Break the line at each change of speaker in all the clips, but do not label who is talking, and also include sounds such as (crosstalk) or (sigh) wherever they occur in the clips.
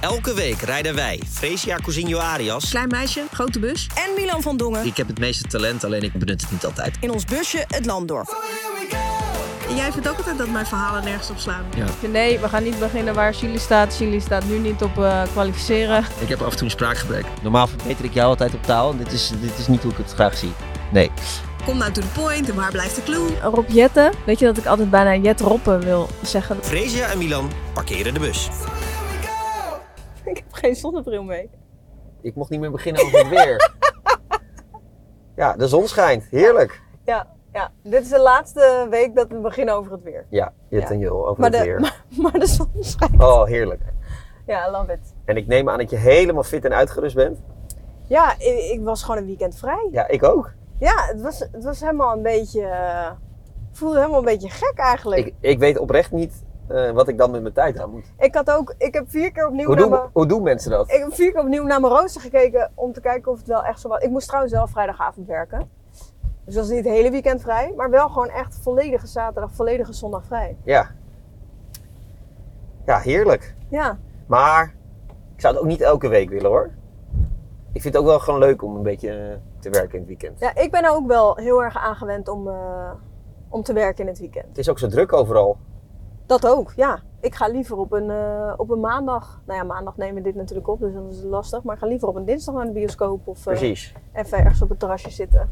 Elke week rijden wij Fresia Cousinho Arias.
Klein meisje, grote bus.
en Milan van Dongen
Ik heb het meeste talent, alleen ik benut het niet altijd.
in ons busje het land door.
En jij vindt ook altijd dat mijn verhalen nergens op slaan.
Nee, we gaan niet beginnen waar Chili staat. Chili staat nu niet op eh, kwalificeren.
Ik heb af en toe een spraakgebrek.
Normaal verbeter ik jou altijd op taal. en Dit is, dit is niet hoe ik het graag zie. Nee.
Kom nou to the point en waar blijft de clue?
Rob Jetten, weet je dat ik altijd bijna Jet Roppen wil zeggen? (laughs)
Fresia en Milan parkeren de bus.
Ik heb geen zonnebril mee.
Ik mocht niet meer beginnen over het weer. (laughs) ja, de zon schijnt. Heerlijk.
Ja, ja, dit is de laatste week dat we beginnen over het weer.
Ja, Jit
Ja.
en Jul over
Maar
het
de,
weer.
(laughs) maar, maar de zon schijnt.
Oh, heerlijk.
Ja, love it.
En ik neem aan dat je helemaal fit en uitgerust bent.
Ja, ik, ik was gewoon een weekend vrij.
Ja, ik ook.
Ja, het was, het was helemaal een beetje... eh, Ik voelde helemaal een beetje gek eigenlijk. Ik,
Ik, ik weet oprecht niet eh, wat ik dan met mijn tijd aan moet.
had ook... Ik heb vier keer opnieuw
Hoe
naar
doen,
mijn...
hoe doen mensen dat?
Ik heb vier keer opnieuw naar mijn rooster gekeken om te kijken of het wel echt zo was. Ik moest trouwens wel vrijdagavond werken. Dus dat is niet het hele weekend vrij. Maar wel gewoon echt volledige zaterdag, volledige zondag vrij.
Ja. Ja, heerlijk.
Ja,
Maar ik zou het ook niet elke week willen hoor. Ik vind het ook wel gewoon leuk om een beetje eh, te werken in het weekend.
ja ik ben er ook wel heel erg aan gewend om, eh, om te werken in het weekend.
Het is ook zo druk overal.
Dat ook, ja. Ik ga liever op een, eh, op een maandag. Nou ja, maandag nemen we dit natuurlijk op, dus dan is het lastig. Maar ik ga liever op een dinsdag naar de bioscoop of eh,
Precies.
even ergens op het terrasje zitten.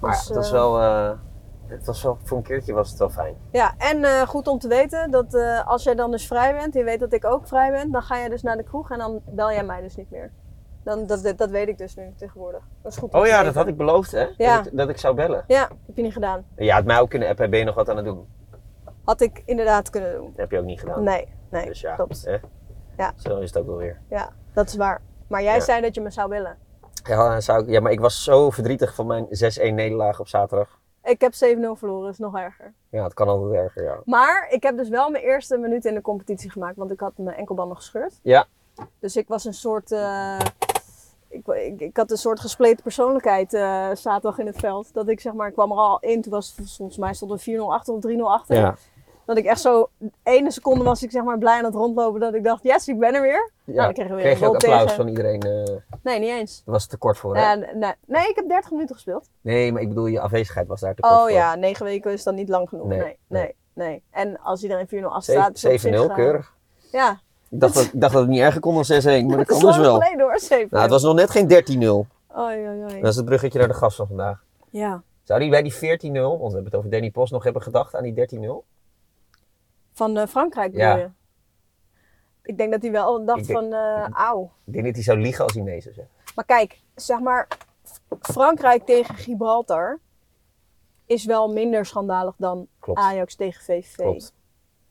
Maar
Dus,
het was
eh,
wel, eh, het was wel, voor een keertje was het wel fijn.
Ja, en eh, goed om te weten dat eh, als jij dan dus vrij bent, je weet dat ik ook vrij ben, dan ga jij dus naar de kroeg en dan bel jij mij dus niet meer. Dan, dat, dat, dat weet ik dus nu tegenwoordig. Dat is goed. om
Oh
te
ja,
weten.
dat had ik beloofd hè?
Ja.
Dat, ik, dat ik zou bellen.
Ja, heb je niet gedaan.
Je had mij ook kunnen appen, ben je nog wat aan het doen?
Had ik inderdaad kunnen doen.
Dat heb je ook niet gedaan.
Nee, nee,
dus ja,
klopt.
hè?
Ja.
Zo is het ook wel weer.
Ja, dat is waar. Maar jij
Ja.
zei dat je me zou bellen.
Ja, dan zou ik, ja, maar ik was zo verdrietig van mijn 6-1 nederlaag op zaterdag.
Ik heb 7-0 verloren, is nog erger.
Ja, het kan altijd erger, ja.
Maar ik heb dus wel mijn eerste minuut in de competitie gemaakt, want ik had mijn enkelbanden gescheurd.
Ja.
Dus ik was een soort. eh, ik, ik, ik had een soort gespleten persoonlijkheid eh, zaterdag in het veld. Dat ik zeg maar, ik kwam er al in. Toen was het volgens mij stond er 4-0 achter of 3-0 achter.
Ja.
Dat ik echt zo. Ene seconde was ik zeg maar blij aan het rondlopen. Dat ik dacht, yes, ik ben er weer. Nou,
Ja,
dan kregen we weer
kreeg je
een
ook
goal
applaus
tegen.
van iedereen. eh, dat
Nee, niet eens.
was te kort voor. hè?
Eh, nee, nee, ik heb 30 minuten gespeeld.
Nee, maar ik bedoel, je afwezigheid was daar te kort
Oh
voor.
ja, 9 weken is dan niet lang genoeg.
Nee,
Nee, nee, nee.
nee.
En als iedereen 4-0
Zeven-
afstaat.
7-0,
eh,
keurig.
Ja,
Ik dacht, dat, ik dacht dat het niet erger kon dan 6-1, maar dat
(laughs) dat
kan
is
dus
lang
wel.
geleden hoor, 7
Nou, het was nog net geen 13-0.
Oei, oei, oei.
Dat is het bruggetje naar de gast van vandaag.
Ja,
Zou die bij die 14-0, want we hebben het over Danny Post, nog hebben gedacht aan die 13-0?
van eh, Frankrijk bedoel
Ja.
je? Ik denk dat hij wel dacht
Ik denk-
van, eh auw.
Ik denk dat hij zou liegen als hij nee zou zeggen.
Maar kijk, zeg maar, F- Frankrijk tegen Gibraltar is wel minder schandalig dan
Klopt.
Ajax tegen VVV.
Klopt.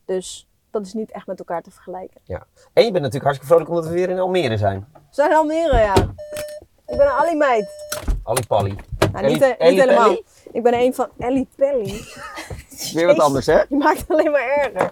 Dus dat is niet echt met elkaar te vergelijken.
Ja. En je bent natuurlijk hartstikke vrolijk omdat we weer in Almere zijn.
We zijn in Almere, ja. Ik ben een Ali-meid.
Ali Palli.
Nou,
Ellie-
niet, eh,
Ellie
niet helemaal.
Pelly?
Ik ben een van Ellie Pelly.
Weer wat anders, hè?
Je maakt het alleen maar erger.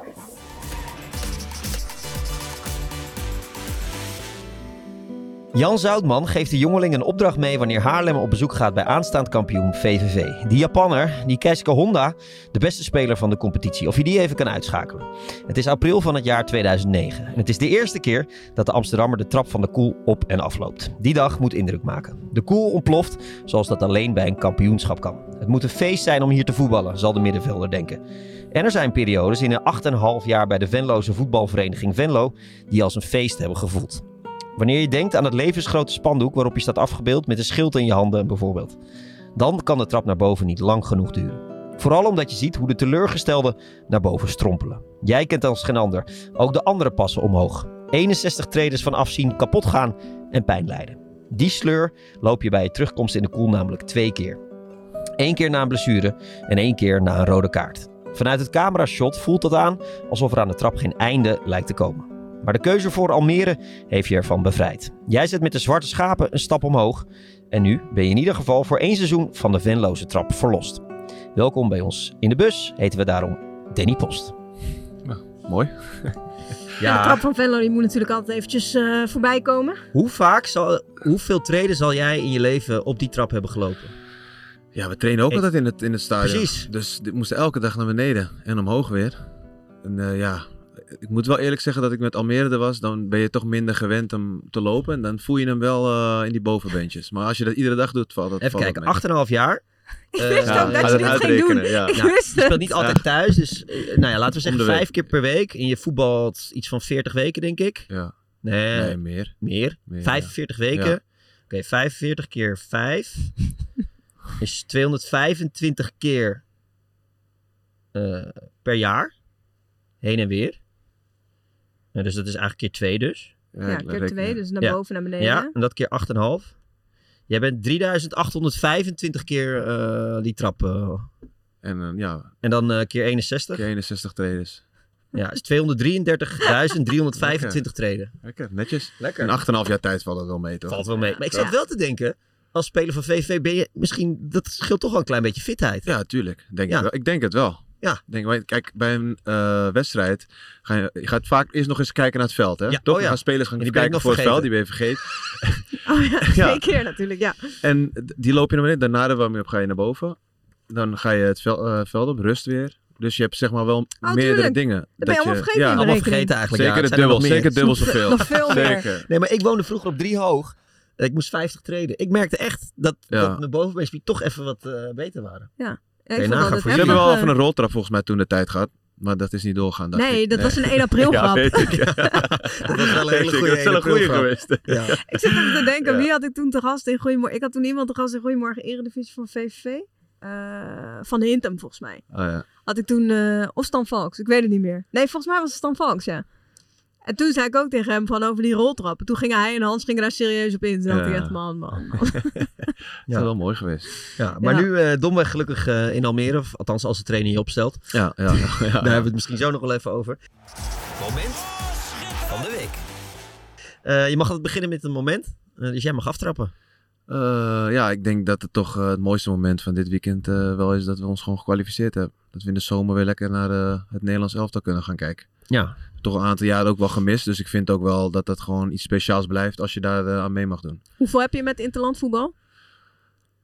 Jan Zoutman geeft de jongeling een opdracht mee wanneer Haarlem op bezoek gaat bij aanstaand kampioen VVV. Die Japanner, die Keisuke Honda, de beste speler van de competitie, of je die even kan uitschakelen. Het is april van het jaar 2009 en het is de eerste keer dat de Amsterdammer de trap van de koel op en afloopt. Die dag moet indruk maken. De koel ontploft zoals dat alleen bij een kampioenschap kan. Het moet een feest zijn om hier te voetballen, zal de middenvelder denken. En er zijn periodes in een 8,5 jaar bij de Venloze voetbalvereniging Venlo die als een feest hebben gevoeld. Wanneer je denkt aan het levensgrote spandoek waarop je staat afgebeeld met een schild in je handen bijvoorbeeld. Dan kan de trap naar boven niet lang genoeg duren. Vooral omdat je ziet hoe de teleurgestelden naar boven strompelen. Jij kent als geen ander. Ook de anderen passen omhoog. 61 traders van afzien, kapot gaan en pijn lijden. Die sleur loop je bij je terugkomst in de koel namelijk twee keer. Eén keer na een blessure en één keer na een rode kaart. Vanuit het camerashot voelt dat aan alsof er aan de trap geen einde lijkt te komen. Maar de keuze voor Almere heeft je ervan bevrijd. Jij zet met de zwarte schapen een stap omhoog. En nu ben je in ieder geval voor één seizoen van de Venloze trap verlost. Welkom bij ons in de bus, heten we daarom Danny Post. Nou,
(laughs)
Mooi.
Ja. de trap van Venlo die moet natuurlijk altijd eventjes eh, voorbij komen.
Hoe vaak, zal, hoeveel treden zal jij in je leven op die trap hebben gelopen?
Ja, we trainen ook
Ik-
altijd in het, in het stadion.
Precies.
Dus we moesten elke dag naar beneden en omhoog weer. En eh, ja, ik moet wel eerlijk zeggen dat ik met Almere er was, dan ben je toch minder gewend hem te lopen. En dan voel je hem wel eh, in die bovenbeentjes. Maar als je dat iedere dag doet, valt dat
Even
valt dat
kijken,
mee.
8,5
(laughs)
jaar.
Ik
Eh,
wist
ja,
ook
ga
dat je
dat
dit ging
uitrekenen,
doen.
ja.
Ik
Ja,
wist
Je
het.
speelt
(laughs)
niet altijd thuis, dus eh, nou ja, laten we zeggen
Om de
vijf
week.
keer per week. En je voetbalt iets van 40 weken, denk ik.
Ja,
Nee,
nee, meer.
meer.
meer
45 weken.
Ja.
Oké, 45 keer
(laughs)
5 is 225 keer eh, per jaar. Heen en weer. Nou, dus dat is eigenlijk keer 2 dus.
Ja,
Ja,
ik
keer
reken-
twee, dus naar
Ja.
boven, naar beneden.
Ja, en dat keer 8,5. Jij bent 3825 keer eh, die trap. eh,
En eh, ja,
en dan eh, keer 61.
keer 61 traders.
Ja, is 233.325 treden.
(laughs) Lekker, netjes.
Lekker.
In 8,5 jaar tijd valt dat wel mee, toch?
Valt wel mee. Maar ik zat wel te denken, als speler van VV ben je misschien, dat scheelt toch wel een klein beetje fitheid.
Ja, tuurlijk. Denk
Ja.
Ik, wel. ik denk het wel.
Ja.
Denk, want kijk, bij een eh, wedstrijd ga je, je gaat vaak eerst nog eens kijken naar het veld. Hè?
Ja, oh
Toch?
ja.
Dan gaan spelers gaan
En die ben ik
kijken
nog
voor het veld,
vergeten.
die ben je vergeten.
Oh ja,
(laughs)
Ja.
twee keer natuurlijk, ja.
En d- die loop je naar beneden. Daarna de warming-up ga je naar boven. Dan ga je het vel- eh, veld op, rust weer. Dus je hebt zeg maar wel
Oh,
meerdere
tuurlijk.
dingen.
ben je allemaal vergeten in de
Allemaal
rekening.
vergeten eigenlijk.
zeker
ja,
het
zijn er
dubbel,
nog meer.
zeker dubbel zoveel.
Nog veel meer.
Zeker.
(laughs) Nee, maar ik woonde vroeger op drie hoog. Eh, Ik moest 50 treden. Ik merkte echt dat,
Ja.
dat mijn bovenbeenspieren toch even wat eh, beter
(laughs)
waren.
Ja,
Kun je
ik vond
nagaan voor
altijd
We
jullie.
heftig,
hebben wel
eh,
even een roltrap volgens mij toen de tijd gehad. Maar dat is niet doorgaan. dacht
Nee,
ik.
dat was een
(laughs)
1 april
Ja,
grap.
weet ik.
(laughs) Dat was wel een hele
Weet ik,
goede
dat is wel een
april
goeie
grap.
geweest.
Ja.
Ik zit even te denken,
Ja.
wie had ik toen te gast in Goeiemorgen? Ik had toen iemand te gast in Goeiemorgen Eredivisie van VVV. Eh, van Hintem volgens mij.
Oh, ja.
Had ik toen, eh, of Stan Valks, ik weet het niet meer. Nee, volgens mij was het Stan Valks, ja. En toen zei ik ook tegen hem van over die roltrappen. Toen gingen hij en Hans gingen daar serieus op in. Toen dacht ik
Ja.
echt, man, man, man. (laughs)
Dat is wel mooi geweest.
Ja, maar
Ja.
nu eh domweg gelukkig eh, in Almere, of althans als de trainer je opstelt.
Ja,
(laughs)
ja, ja,
Daar
ja.
hebben we het misschien zo nog wel even over. Moment van de week. Eh, je mag altijd beginnen met een moment. Eh, dus jij mag aftrappen.
Eh, ja, ik denk dat het toch eh, het mooiste moment van dit weekend eh, wel is dat we ons gewoon gekwalificeerd hebben. Dat we in de zomer weer lekker naar eh, het Nederlands elftal kunnen gaan kijken.
Ja.
Toch een aantal jaren ook wel gemist, dus ik vind ook wel dat dat gewoon iets speciaals blijft als je daar eh, aan mee mag doen.
Hoeveel heb je met interlandvoetbal?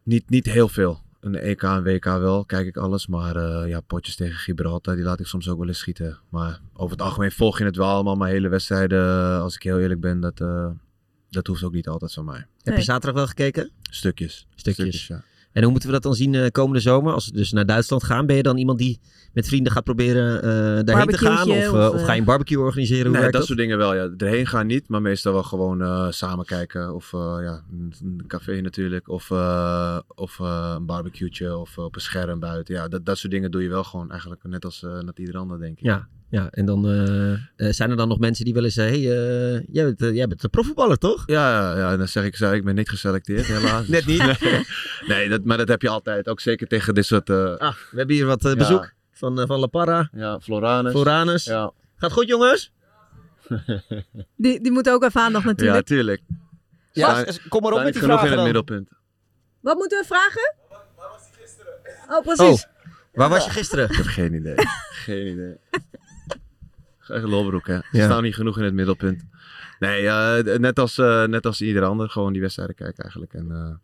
Niet, niet heel veel. Een EK en WK wel, kijk ik alles. Maar eh, ja, potjes tegen Gibraltar, die laat ik soms ook wel eens schieten. Maar over het algemeen volg je het wel allemaal. Maar hele wedstrijden, eh, als ik heel eerlijk ben, dat, eh, dat hoeft ook niet altijd van mij.
Heb je
Nee.
zaterdag wel gekeken?
Stukjes.
Stukjes.
ja.
En hoe moeten we dat dan zien eh, komende zomer? Als we dus naar Duitsland gaan, ben je dan iemand die met vrienden gaat proberen eh daarheen te gaan? Of,
Barbecueetje
eh,
of,
of ga je een barbecue organiseren? Hoe
Nee, dat,
werkt dat?
soort dingen wel. Ja. Erheen gaan niet, maar meestal wel gewoon eh, samen kijken. Of eh, ja, een een café natuurlijk. Of, eh, of eh, een barbecue of eh, op een scherm buiten. Ja, dat, dat soort dingen doe je wel gewoon eigenlijk net als eh net ieder ander, denk ik.
Ja. Ja, en dan eh, eh, zijn er dan nog mensen die willen zeggen, hey, eh, jij, bent, eh, jij bent een profvoetballer, toch?
Ja, ja, ja, en dan zeg ik, zo, ik ben niet geselecteerd, helaas.
Net (laughs) niet.
(laughs) Nee, nee, dat, maar dat heb je altijd. Ook zeker tegen dit soort... eh,
Ah, we hebben hier wat eh,
Ja.
bezoek van, eh, van La Parra,
ja, Floranus.
Floranus.
Ja,
Gaat goed, jongens?
Die, die moet ook even aandacht
ja,
natuurlijk.
tuurlijk.
Ja,
Staan-
kom maar op met
staan niet
die
genoeg
vragen
in het
dan.
middelpunt.
Wat moeten we vragen? Waar was hij gisteren? Oh, precies.
Waar was je
(laughs)
gisteren?
Ik heb geen idee. geen idee. Echt een lolbroek, hè. Ze
Ja.
staan niet genoeg in het middelpunt. Nee, eh, net, als, eh, net als ieder ander. Gewoon die wedstrijden kijken eigenlijk. En eh,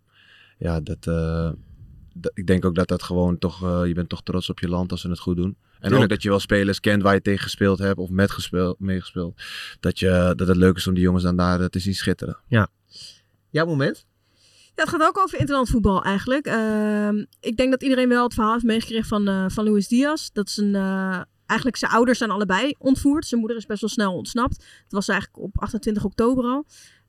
ja, dat, eh, dat- ik denk ook dat dat gewoon toch... eh, je bent toch trots op je land als ze het goed doen. En
Tuurlijk.
ook dat je wel spelers kent waar je tegen gespeeld hebt of met gespeeld, meegespeeld. Dat, je, dat het leuk is om die jongens dan daar eh, te zien schitteren.
Jouw moment?
Ja, het gaat ook over interland voetbal eigenlijk. Ehm, ik denk dat iedereen wel het verhaal heeft meegekregen van, eh, van Luis Diaz. Dat is een, eh, eigenlijk zijn ouders zijn allebei ontvoerd. Zijn moeder is best wel snel ontsnapt. Het was eigenlijk op 28 oktober al.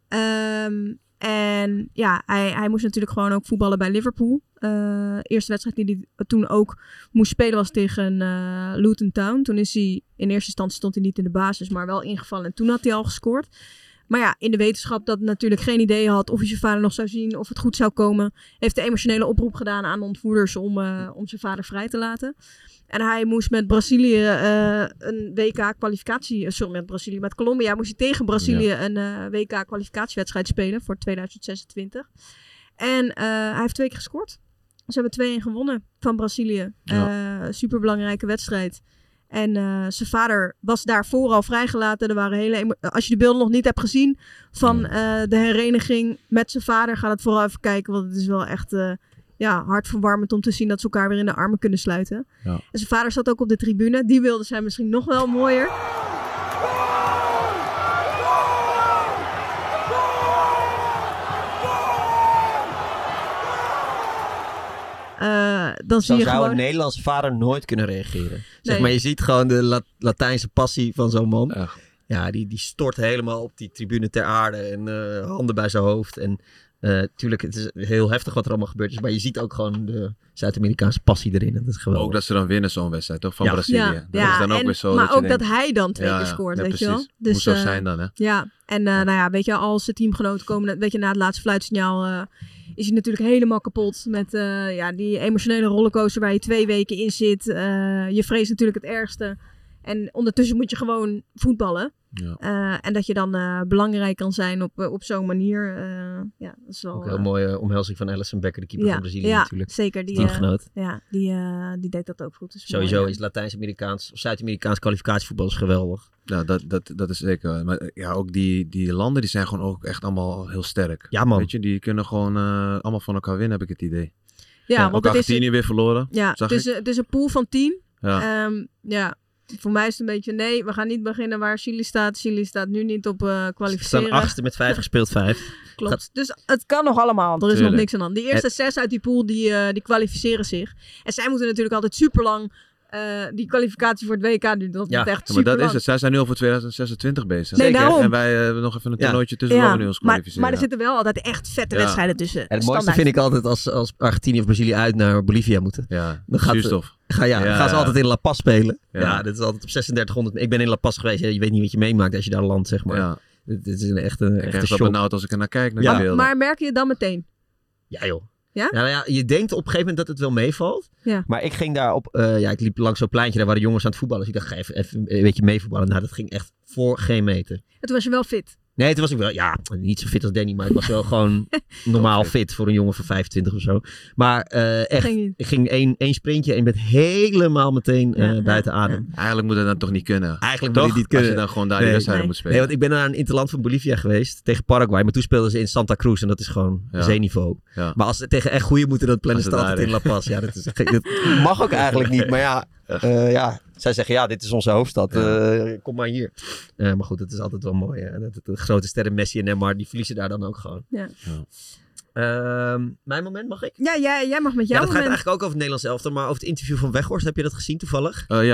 Ehm, en ja, hij, hij moest natuurlijk gewoon ook voetballen bij Liverpool. Eh, eerste wedstrijd die hij toen ook moest spelen was tegen eh, Luton Town. Toen is hij, in eerste instantie stond hij niet in de basis, maar wel ingevallen. En toen had hij al gescoord. Maar ja, in de wetenschap dat hij natuurlijk geen idee had of hij zijn vader nog zou zien, of het goed zou komen, heeft de emotionele oproep gedaan aan de ontvoerders om, eh, om zijn vader vrij te laten. En hij moest met Brazilië eh, een WK-kwalificatie, eh, sorry, met Brazilië, met Colombia moest hij tegen Brazilië een eh, WK-kwalificatiewedstrijd spelen voor 2026. En eh, hij heeft twee keer gescoord. Ze hebben 2-1 gewonnen van Brazilië. Eh, superbelangrijke wedstrijd. En eh, zijn vader was daarvoor al vrijgelaten. Er waren hele emo- Als je de beelden nog niet hebt gezien van eh, de hereniging met zijn vader, ga dat vooral even kijken. Want het is wel echt eh ja, hartverwarmend om te zien dat ze elkaar weer in de armen kunnen sluiten.
Ja.
En zijn vader zat ook op de tribune. Die wilde zij misschien nog wel mooier. Eh, dan zie
Zo
je
zou
gewoon...
een Nederlandse vader nooit kunnen reageren. Zeg
Nee.
maar, je ziet gewoon de La- Latijnse passie van zo'n man.
Echt.
Ja, die, die stort helemaal op die tribune ter aarde en eh, handen bij zijn hoofd. En eh tuurlijk, het is heel heftig wat er allemaal gebeurd is. Maar je ziet ook gewoon de Zuid-Amerikaanse passie erin. En dat is geweldig.
Ook dat ze dan winnen zo'n wedstrijd, toch? Van
Ja.
Brazilië.
ja,
dat
ja,
is dan ook
en-
weer zo.
Maar
dat je
ook dat
denkt,
hij dan twee
ja,
keer
ja,
scoort,
ja,
weet je wel.
precies.
Dus,
Moet zo
eh,
zijn dan, hè?
Ja, en eh, nou ja, weet je, als de teamgenoten komen, weet je, na het laatste fluitsignaal eh, is hij natuurlijk helemaal kapot met eh, ja, die emotionele rollercoaster waar je twee weken in zit. Eh, je vreest natuurlijk het ergste. En ondertussen moet je gewoon voetballen.
Ja.
Eh, en dat je dan eh, belangrijk kan zijn op, eh, op zo'n manier. eh, ja, dat is wel.
Ook een heel
eh,
mooie omhelzing van Alison Becker, de keeper
ja,
van Brazilië
ja,
natuurlijk.
zeker. Die, eh,
Teamgenoot.
ja, die, eh, die deed dat ook goed. Dus mooi,
Sowieso
ja.
is Latijns-Amerikaans of Zuid-Amerikaans kwalificatievoetbal is geweldig.
Ja, Nou, dat, dat, dat is zeker. Maar eh, ja, ook die, die landen die zijn gewoon ook echt allemaal heel sterk.
Ja, man.
Weet je, die kunnen gewoon eh, allemaal van elkaar winnen, heb ik het idee.
Ja,
Ja,
want het
ook
is, eh,
Argentinië weer verloren.
ja,
zag
het, is, een- het is een pool van tien.
Ja.
Ehm, ja, voor mij is het een beetje nee, we gaan niet beginnen waar Chili staat. Chili staat nu niet op eh
Ze staan
kwalificeren.
achtste met vijf gespeeld vijf.
Klopt. Dus het kan nog allemaal. Er is nog
Tuurlijk.
niks aan de hand. Die eerste zes uit die pool, die, eh, die kwalificeren zich. En zij moeten natuurlijk altijd super lang. die kwalificatie voor het WK, die- dat
Ja,
duurt echt
Ja, maar
super
dat
lang.
is het. Zij zijn nu al voor 2026 bezig.
Nee,
Zeker.
daarom.
En wij eh, hebben nog even een
Ja.
toernooitje tussen waar we nu ons
maar,
kwalificeren.
maar er zitten wel altijd echt vette
Ja.
wedstrijden tussen.
En het mooiste
Standaard.
vind ik altijd als, als Argentinië of Brazilië uit naar Bolivia moeten.
Ja,
Dan gaat-
zuurstof.
Ga, ja, dan
Ja.
gaan ze altijd in La Paz spelen. Ja.
Ja.
dat is altijd op 3600. Ik ben in La Paz geweest. hè. Je weet niet wat je meemaakt als je daar landt, zeg maar.
Ja,
Dit dit is een echte, een
ik
echte
krijg zo
shock.
benauwd als ik er naar kijk, naar
Ja.
die beelden.
Maar merk je het dan meteen?
Ja, joh.
Ja?
Nou ja, je denkt op een gegeven moment dat het wel meevalt.
Ja.
Maar ik ging daar op... eh, ja, ik liep langs zo'n pleintje. Daar waren jongens aan het voetballen. Dus ik dacht, ga even, even een beetje meevoetballen. Nou, dat ging echt voor geen meter.
En toen was je wel fit.
Nee, toen was ik wel... Ja, niet zo fit als Danny. Maar ik was wel
(laughs)
gewoon normaal fit voor een jongen van 25 of zo. Maar eh, echt...
Ging niet.
Ik ging één, één sprintje en je bent helemaal meteen eh,
Ja,
buiten
ja,
adem.
Eigenlijk moet dat dan toch niet kunnen.
Eigenlijk
Toch?
moet je dit
Als je
kunnen.
dan gewoon daar
Nee.
die wedstrijden
Nee.
moet
Nee,
spelen.
want ik ben naar een interland van Bolivia geweest tegen Paraguay. Maar toen speelden ze in Santa Cruz en dat is gewoon
Ja.
zeeniveau.
Ja.
Maar als ze tegen echt goede moeten, dan plannen
Als
ze
het
het altijd in La
daar
Paz. Ja, dat, is, dat (laughs) mag ook eigenlijk niet. Maar ja, eh, ja, zij zeggen ja, dit is onze hoofdstad. eh, kom maar hier. Eh, maar goed, het is altijd wel mooi. hè. Dat, dat- de grote sterren Messi en Neymar, die verliezen daar dan ook gewoon.
Ja.
Ja.
Ehm, mijn moment mag ik?
Ja, jij, jij mag met
Ja,
jouw
dat gaat
moment.
eigenlijk ook over het Nederlands elftal. Maar over het interview van Weghorst, heb je dat gezien toevallig?
Eh,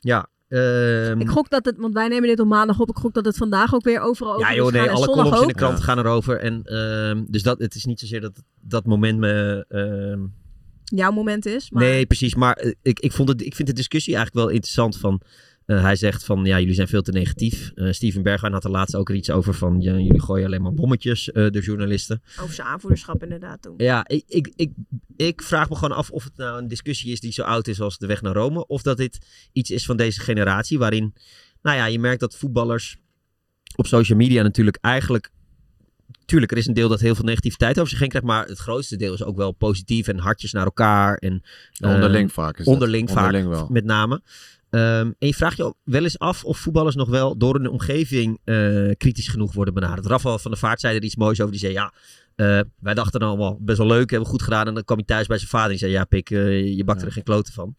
ja,
Ehm,
Ik gok dat het, want wij nemen dit op maandag op. Ik gok dat het vandaag ook weer overal over
Ja,
is
joh,
gaan
nee,
en
alle
zondag
columns in de
ook.
krant
Ja.
gaan erover. En, ehm, dus dat, het is niet zozeer dat dat moment me. ehm,
Jouw moment is. Maar...
Nee, precies. Maar eh, ik, ik, vond het, ik vind de discussie eigenlijk wel interessant. Van, eh, hij zegt van ja, jullie zijn veel te negatief. Eh, Steven Bergwijn had er laatst ook er iets over van ja, jullie gooien alleen maar bommetjes, eh, de journalisten.
Over zijn aanvoederschap inderdaad toen.
Ja, ik, ik, ik, ik vraag me gewoon af of het nou een discussie is die zo oud is als de weg naar Rome. Of dat dit iets is van deze generatie waarin, nou ja, je merkt dat voetballers op social media natuurlijk eigenlijk... Tuurlijk, er is een deel dat heel veel negativiteit over zich heen krijgt. Maar het grootste deel is ook wel positief en hartjes naar elkaar. En, eh,
onderling vaak is dat.
onderling vaak.
Onderling wel.
met name. Ehm, en je vraagt je wel eens af of voetballers nog wel door hun omgeving eh, kritisch genoeg worden benaderd. Rafael van der Vaart zei er iets moois over. Die zei ja, eh, wij dachten allemaal best wel leuk, hebben we goed gedaan. En dan kwam hij thuis bij zijn vader en die zei ja pik, eh, je bakt er
Ja.
geen kloten van.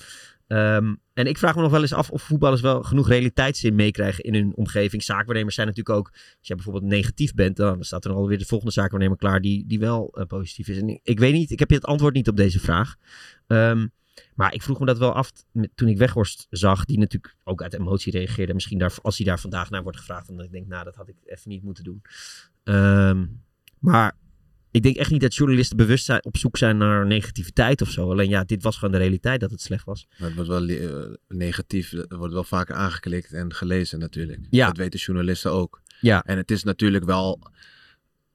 Ehm, en ik vraag me nog wel eens af of voetballers wel genoeg realiteitszin meekrijgen in hun omgeving. Zaakwaarnemers zijn natuurlijk ook, als je bijvoorbeeld negatief bent, dan staat er alweer de volgende zaakwaarnemer klaar die, die wel eh, positief is. En ik, ik weet niet, ik heb het antwoord niet op deze vraag. Ehm, maar ik vroeg me dat wel af t- met- toen ik Weghorst zag, die natuurlijk ook uit emotie reageerde. Misschien daar, als hij daar vandaag naar wordt gevraagd, dan denk ik, nou, dat had ik even niet moeten doen. Ehm, maar ik denk echt niet dat journalisten bewust zijn, op zoek zijn naar negativiteit of zo. Alleen ja, dit was gewoon de realiteit dat het slecht was.
Maar Het wordt wel eh, negatief, het wordt wel vaker aangeklikt en gelezen natuurlijk.
Ja.
Dat weten journalisten ook.
Ja.
En het is natuurlijk wel,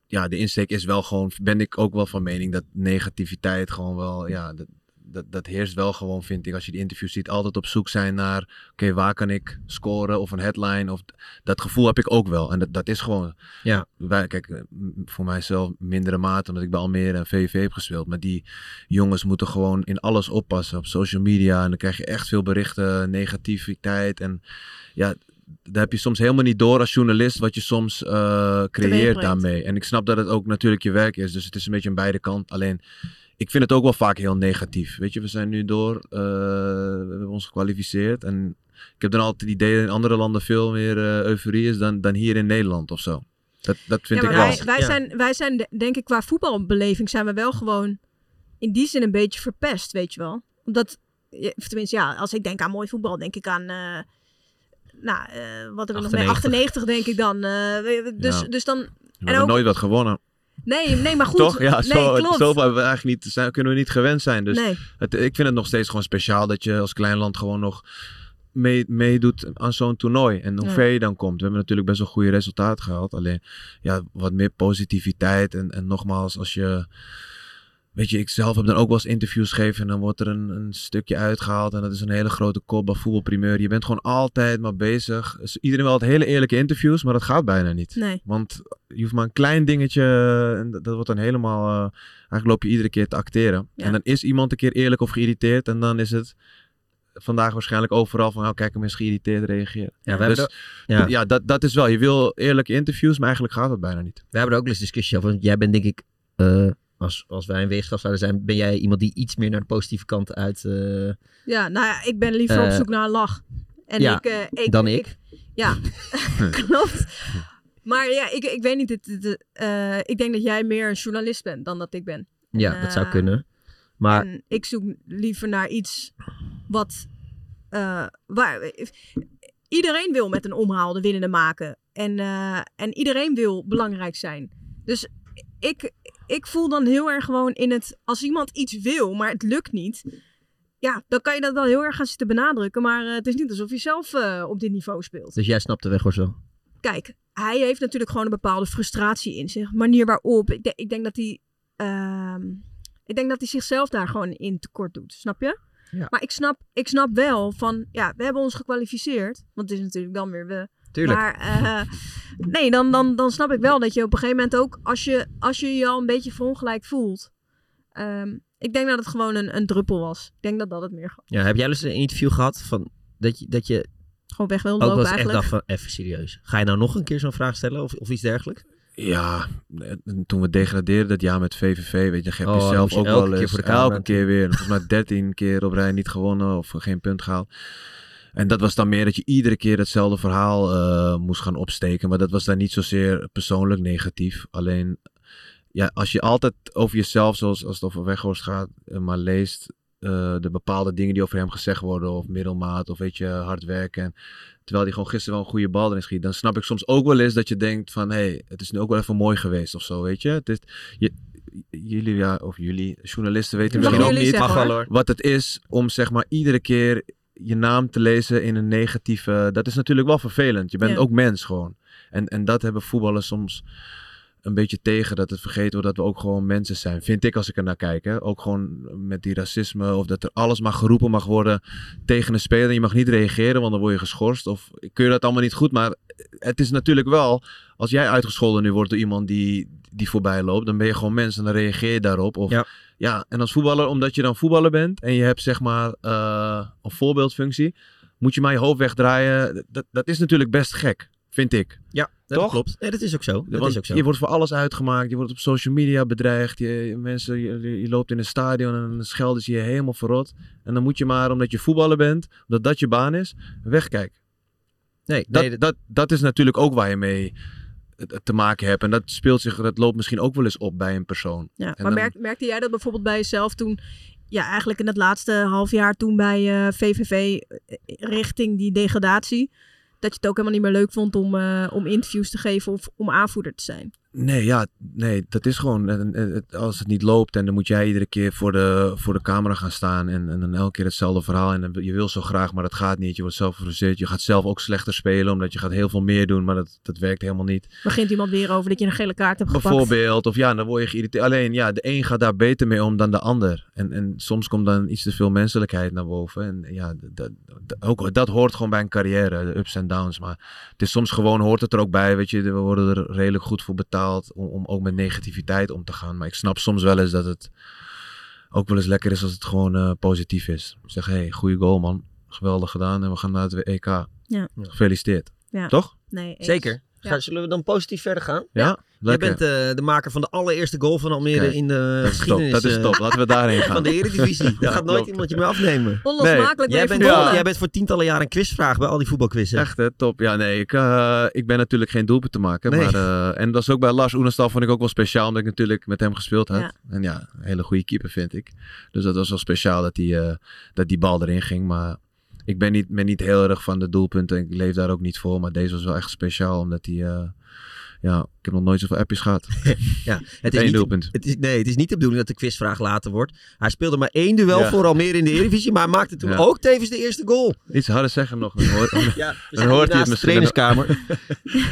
ja, de insteek is wel gewoon, ben ik ook wel van mening dat negativiteit gewoon wel, ja, dat, dat, dat heerst wel gewoon, vind ik, als je die interviews ziet, altijd op zoek zijn naar, oké, waar kan ik scoren of een headline of dat gevoel heb ik ook wel. En dat, dat is gewoon,
Ja.
wij, kijk, eh, m- voor mijzelf mindere mate, omdat ik bij Almere en VVV heb gespeeld, maar die jongens moeten gewoon in alles oppassen op social media. En dan krijg je echt veel berichten, negativiteit. En ja, daar heb je soms helemaal niet door als journalist wat je soms eh, creëert
Teweegbrengt.
daarmee. En ik snap dat het ook natuurlijk je werk is. Dus het is een beetje aan beide kanten. Alleen, ik vind het ook wel vaak heel negatief. Weet je, we zijn nu door. eh, we hebben ons gekwalificeerd. En ik heb dan altijd het idee dat in andere landen veel meer eh, euforie is dan, dan hier in Nederland of zo. Dat, dat vind
ja,
ik
maar
wel.
wij, wij,
Ja.
zijn, wij zijn, de- denk ik, qua voetbalbeleving zijn we wel gewoon in die zin een beetje verpest, weet je wel. Omdat, eh, of tenminste, ja, als ik denk aan mooi voetbal, denk ik aan. eh, nou, eh, wat hebben we nog mee? 98 denk ik dan. eh, we- we- dus,
Ja.
dus dan.
We hebben
ook-
nooit wat gewonnen.
Nee, nee maar goed.
Toch? Ja, zo,
nee, klopt.
zoveel hebben we eigenlijk niet, zijn, kunnen we niet gewend zijn. Dus
nee.
het, ik vind het nog steeds gewoon speciaal dat je als klein land gewoon nog mee- meedoet aan zo'n toernooi. En hoe
Ja.
ver je dan komt. We hebben natuurlijk best wel goede resultaten gehaald. Alleen ja, wat meer positiviteit. En, en nogmaals, als je. Weet je, ik zelf heb dan ook wel eens interviews gegeven en dan wordt er een, een stukje uitgehaald en dat is een hele grote kop bij voetbalprimeur. Je bent gewoon altijd maar bezig. Dus Iedereen wil altijd hele eerlijke interviews, maar dat gaat bijna niet.
Nee.
Want je hoeft maar een klein dingetje eh, en dat, dat wordt dan helemaal... eh, eigenlijk loop je iedere keer te acteren.
Ja.
En dan is iemand een keer eerlijk of geïrriteerd en dan is het vandaag waarschijnlijk overal van... Oh, kijk, hem is geïrriteerd, reageer.
Ja, we hebben,
Dus
er,
ja,
ja.
dat, dat is wel. Je wil eerlijke interviews, maar eigenlijk gaat dat bijna niet.
we hebben er ook wel eens discussie over. Want jij bent denk ik, eh, als, als wij een weegschaal zouden zijn, ben jij iemand die iets meer naar de positieve kant uit eh,
Ja, nou ja, ik ben liever op
Eh,
zoek naar een lach. En
ja,
ik, eh, ik,
dan ik. (laughs)
Ja, (laughs) klopt. Maar ja, ik, ik weet niet. Het, het- het, eh, ik denk dat jij meer een journalist bent dan dat ik ben.
Ja, dat zou
Eh,
kunnen. Maar
En ik zoek liever naar iets wat. eh, waar, iedereen wil met een omhaal de winnende maken. En, eh, en iedereen wil belangrijk zijn. Dus ik, ik voel dan heel erg gewoon in het. Als iemand iets wil, maar het lukt niet. Ja, dan kan je dat wel heel erg gaan zitten benadrukken. Maar eh, het is niet alsof je zelf eh, op dit niveau speelt.
dus jij snapt de weg hoor zo.
Kijk, hij heeft natuurlijk gewoon een bepaalde frustratie in zich. Manier waarop. Ik, de- ik denk dat hij. ehm, ik denk dat hij zichzelf daar gewoon in tekort doet. Snap je?
Ja.
Maar ik snap, ik snap wel van. Ja, we hebben ons gekwalificeerd. Want het is natuurlijk dan weer we.
Tuurlijk.
Maar eh, nee, dan, dan, dan snap ik wel dat je op een gegeven moment ook. Als je als je, je al een beetje verongelijk voelt. ehm, ik denk dat het gewoon een, een druppel was. Ik denk dat dat het meer
Ja, heb jij dus een interview gehad van dat je, dat je
gewoon weg wil
ook wel
lopen
eens echt
eigenlijk.
dacht van even serieus. Ga je nou nog een keer zo'n vraag stellen of, of iets dergelijks?
Ja, en toen we degradeerden dat jaar met VVV, weet je, dan heb
Oh,
je
dan
zelf
moest je
ook
elke
wel
keer
eens,
voor de camera
elke
natuurlijk.
keer weer. Volgens mij 13 (laughs) keer op rij niet gewonnen of geen punt gehaald. En dat was dan meer dat je iedere keer hetzelfde verhaal eh, moest gaan opsteken. Maar dat was dan niet zozeer persoonlijk negatief. Alleen, ja, als je altijd over jezelf, zoals als het over Weghorst gaat, eh, maar leest eh, de bepaalde dingen die over hem gezegd worden. Of middelmaat, of weet je, hard werken. Terwijl hij gewoon gisteren wel een goede bal erin schiet. Dan snap ik soms ook wel eens dat je denkt van... Hé, hey, het is nu ook wel even mooi geweest of zo, weet je. Het is, je jullie, ja, of jullie, journalisten weten
Mag
misschien ook
jullie
niet...
zeggen, Mag wel, hoor.
Wat het is om zeg maar iedere keer je naam te lezen in een negatieve... Dat is natuurlijk wel vervelend. Je bent
Ja.
ook mens gewoon. En, en dat hebben voetballers soms een beetje tegen. Dat het vergeten wordt dat we ook gewoon mensen zijn. Vind ik als ik er naar kijk. Hè? Ook gewoon met die racisme. Of dat er alles maar geroepen mag worden tegen een speler. Je mag niet reageren, want dan word je geschorst. Of kun je dat allemaal niet goed. Maar het is natuurlijk wel... Als jij uitgescholden nu wordt door iemand die, die voorbij loopt. Dan ben je gewoon mens en dan reageer je daarop. Of,
Ja.
ja, en als voetballer, omdat je dan voetballer bent. En je hebt zeg maar eh, een voorbeeldfunctie. Moet je maar je hoofd wegdraaien. Dat, dat is natuurlijk best gek. Vind ik.
Ja, dat
Toch?
klopt. Nee, dat is ook zo. Dat
Want
is ook zo.
Je wordt voor alles uitgemaakt. Je wordt op social media bedreigd. Je, je- mensen, je, je- je loopt in een stadion en dan schelden ze je helemaal verrot. En dan moet je maar, omdat je voetballer bent, omdat dat je baan is, wegkijken.
nee,
Dat,
nee, dat-
dat, dat is natuurlijk ook waar je mee eh, te maken hebt. En dat speelt zich, dat loopt misschien ook wel eens op bij een persoon.
Ja, maar
dan-
merk- merkte jij dat bijvoorbeeld bij jezelf toen, ja, eigenlijk in het laatste half jaar toen bij eh, VVV eh, richting die degradatie, dat je het ook helemaal niet meer leuk vond om, eh, om interviews te geven of om aanvoerder te zijn?
Nee, ja, nee, dat is gewoon. en- en- het- Als het niet loopt en dan moet jij iedere keer voor de, voor de camera gaan staan. En, en dan elke keer hetzelfde verhaal. En dan, wil- je wil zo graag, maar dat gaat niet. Je wordt zelf gefrustreerd. Je gaat zelf ook slechter spelen, omdat je gaat heel veel meer doen. Maar dat, dat werkt helemaal niet.
Begint iemand weer over dat je een gele kaart hebt gepakt?
Bijvoorbeeld, of ja, dan word je geïrriteerd. Alleen ja, de een gaat daar beter mee om dan de ander. En, en soms komt dan iets te veel menselijkheid naar boven. En ja, dat, dat- ook, dat hoort gewoon bij een carrière, de ups en downs. Maar het is soms gewoon, hoort het er ook bij, weet je. We worden er redelijk goed voor betaald om, om ook met negativiteit om te gaan. Maar ik snap soms wel eens dat het ook wel eens lekker is als het gewoon eh, positief is. Zeg, hé, hey, goede goal man. Geweldig gedaan en we gaan naar het EK.
Ja.
Gefeliciteerd.
Ja.
Toch?
Nee, eens.
Zeker. Ga- Zullen we dan positief verder gaan?
Ja, lekker.
Jij bent eh, de maker van de allereerste goal van Almere
Kijk,
in de
dat is top,
geschiedenis
dat is
eh,
top. Laten we
(laughs)
daarheen gaan.
van de Eredivisie. Dat gaat nooit
klopt.
iemand je meer afnemen.
Onlosmakelijk
Jij
ben
bent,
je verbonden.
jij bent voor tientallen jaren een quizvraag bij al die voetbalquizzen.
Echt hè, top. Ja, nee, ik, eh, ik ben natuurlijk geen doelpunt te maken.
Nee.
Maar, eh, en dat is ook bij Lars Oenestal vond ik ook wel speciaal, omdat ik natuurlijk met hem gespeeld had.
Ja.
En ja, een hele goede keeper vind ik. Dus dat was wel speciaal dat die, eh, dat die bal erin ging. Maar ik ben niet, ben niet heel erg van de doelpunten. Ik leef daar ook niet voor. Maar deze was wel echt speciaal, omdat die... eh, ja, ik heb nog nooit zoveel appjes gehad.
Ja, het
Het
is
Eén
niet de,
doelpunt.
het is, nee, het is niet de bedoeling dat de quizvraag later wordt. Hij speelde maar één duel
Ja.
voor Almere in de Eredivisie, maar hij maakte toen
Ja.
ook tevens de eerste goal.
Iets harder zeggen nog. Dan hoor,
Ja,
zitten hoort hij het naast de misschien.
trainingskamer.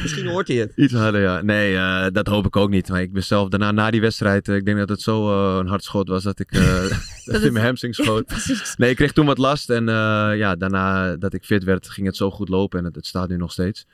misschien hoort hij het.
(laughs) Iets harder, ja. Nee, eh, dat hoop ik ook niet. Maar ik ben zelf daarna, na die wedstrijd, eh, ik denk dat het zo eh, een hard schot was dat ik eh, (laughs) dat het in mijn hamstring
(laughs)
schoot. (laughs) Nee, ik kreeg toen wat last. En eh, ja, daarna dat ik fit werd, ging het zo goed lopen. En het, het staat nu nog steeds.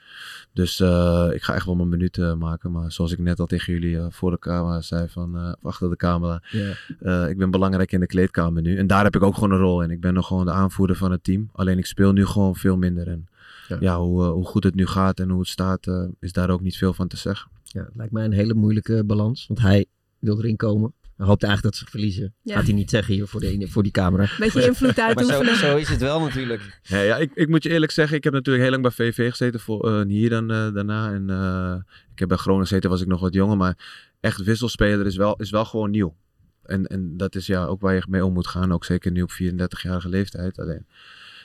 Dus eh, ik ga echt wel mijn minuten maken. Maar zoals ik net al tegen jullie eh, voor de camera zei, van, eh, of achter de camera.
Ja.
eh, ik ben belangrijk in de kleedkamer nu. En daar heb ik ook gewoon een rol in. Ik ben nog gewoon de aanvoerder van het team. Alleen ik speel nu gewoon veel minder. En
Ja.
ja, hoe, eh, hoe goed het nu gaat en hoe het staat, eh, is daar ook niet veel van te zeggen.
Ja, het lijkt mij een hele moeilijke balans, want hij wil erin komen. Hij hoopt eigenlijk dat ze verliezen.
Ja.
Gaat hij niet zeggen hier voor, de, voor die camera.
Beetje invloed
Maar zo,
uitoefenen.
zo is het wel natuurlijk.
Ja, ja ik, ik moet je eerlijk zeggen, ik heb natuurlijk heel lang bij VV gezeten, voor, eh, hier dan eh, daarna. En eh, ik heb bij Groningen gezeten, was ik nog wat jonger. Maar echt wisselspeler is wel, is wel gewoon nieuw. En, en dat is ja ook waar je mee om moet gaan, ook zeker nu op 34-jarige leeftijd. Alleen,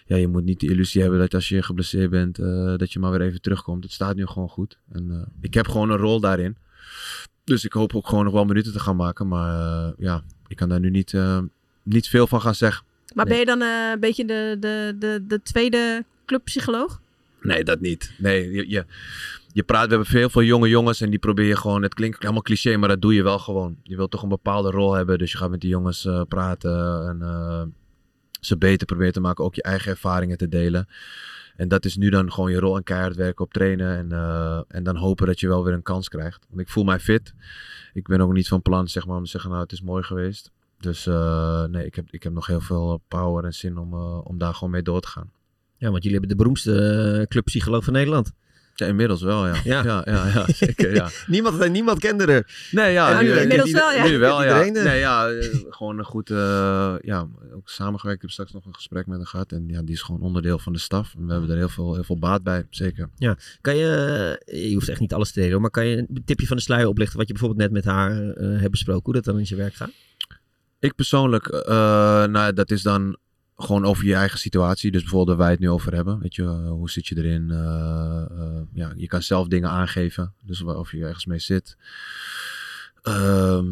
ja, je moet niet de illusie hebben dat als je geblesseerd bent, eh, dat je maar weer even terugkomt. Het staat nu gewoon goed. En eh, ik heb gewoon een rol daarin. Dus ik hoop ook gewoon nog wel minuten te gaan maken. Maar eh, ja, ik kan daar nu niet, eh, niet veel van gaan zeggen.
Maar ben je dan eh, een beetje de, de, de, de tweede clubpsycholoog?
Nee, dat niet. Nee, je, je, je praat, we hebben heel veel jonge jongens en die probeer je gewoon, het klinkt helemaal cliché, maar dat doe je wel gewoon. Je wilt toch een bepaalde rol hebben, dus je gaat met die jongens eh, praten en eh, ze beter proberen te maken, ook je eigen ervaringen te delen. En dat is nu dan gewoon je rol en keihard werken op trainen en, eh, en dan hopen dat je wel weer een kans krijgt. Want ik voel mij fit. Ik ben ook niet van plan zeg maar, om te zeggen, nou het is mooi geweest. Dus eh, nee, ik heb, ik heb nog heel veel power en zin om, eh, om daar gewoon mee door te gaan.
Ja, want jullie hebben de beroemdste eh, clubpsycholoog van Nederland.
Ja, inmiddels wel, ja.
Ja.
Ja, ja, ja, (laughs) zeker, ja.
Niemand, niemand kende er.
Nee, ja.
Ja,
nu-
nu- inmiddels
nu-
wel, ja. dus.
Nu wel, ja.
Iedereen, eh.
Nee, ja, eh, gewoon een goed, eh, ja, ook samengewerkt. Ik heb straks nog een gesprek met hem gehad en ja, die is gewoon onderdeel van de staf. En we hebben er heel veel, heel veel baat bij, zeker.
Kan je, eh, je hoeft echt niet alles te delen, hoor, maar kan je een tipje van de sluier oplichten wat je bijvoorbeeld net met haar eh, hebt besproken, hoe dat dan in zijn werk gaat?
Ik persoonlijk, eh, nou, dat is dan gewoon over je eigen situatie. Dus bijvoorbeeld waar wij het nu over hebben. Weet je, eh, hoe zit je erin? Eh, eh, ja, je kan zelf dingen aangeven. Dus wa- of je ergens mee zit. Ehm,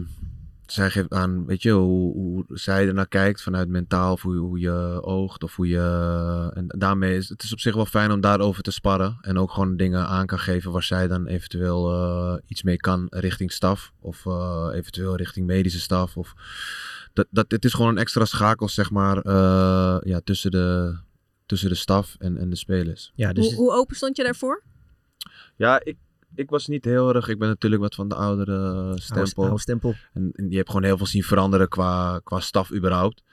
zij geeft aan, weet je, hoe, hoe zij ernaar kijkt vanuit mentaal. Of hoe, hoe je oogt of hoe je... En daarmee is het is op zich wel fijn om daarover te sparren. En ook gewoon dingen aan kan geven waar zij dan eventueel eh, iets mee kan richting staf. Of eh, eventueel richting medische staf. Of dat, dat, het is gewoon een extra schakel, zeg maar, eh, ja, tussen, de, tussen de staf en, en de spelers.
Ja, dus-
hoe, hoe open stond je daarvoor?
Ja, ik, ik was niet heel erg... Ik ben natuurlijk wat van de oudere eh, stempel.
Oude stempel.
En, en je hebt gewoon heel veel zien veranderen qua, qua staf überhaupt.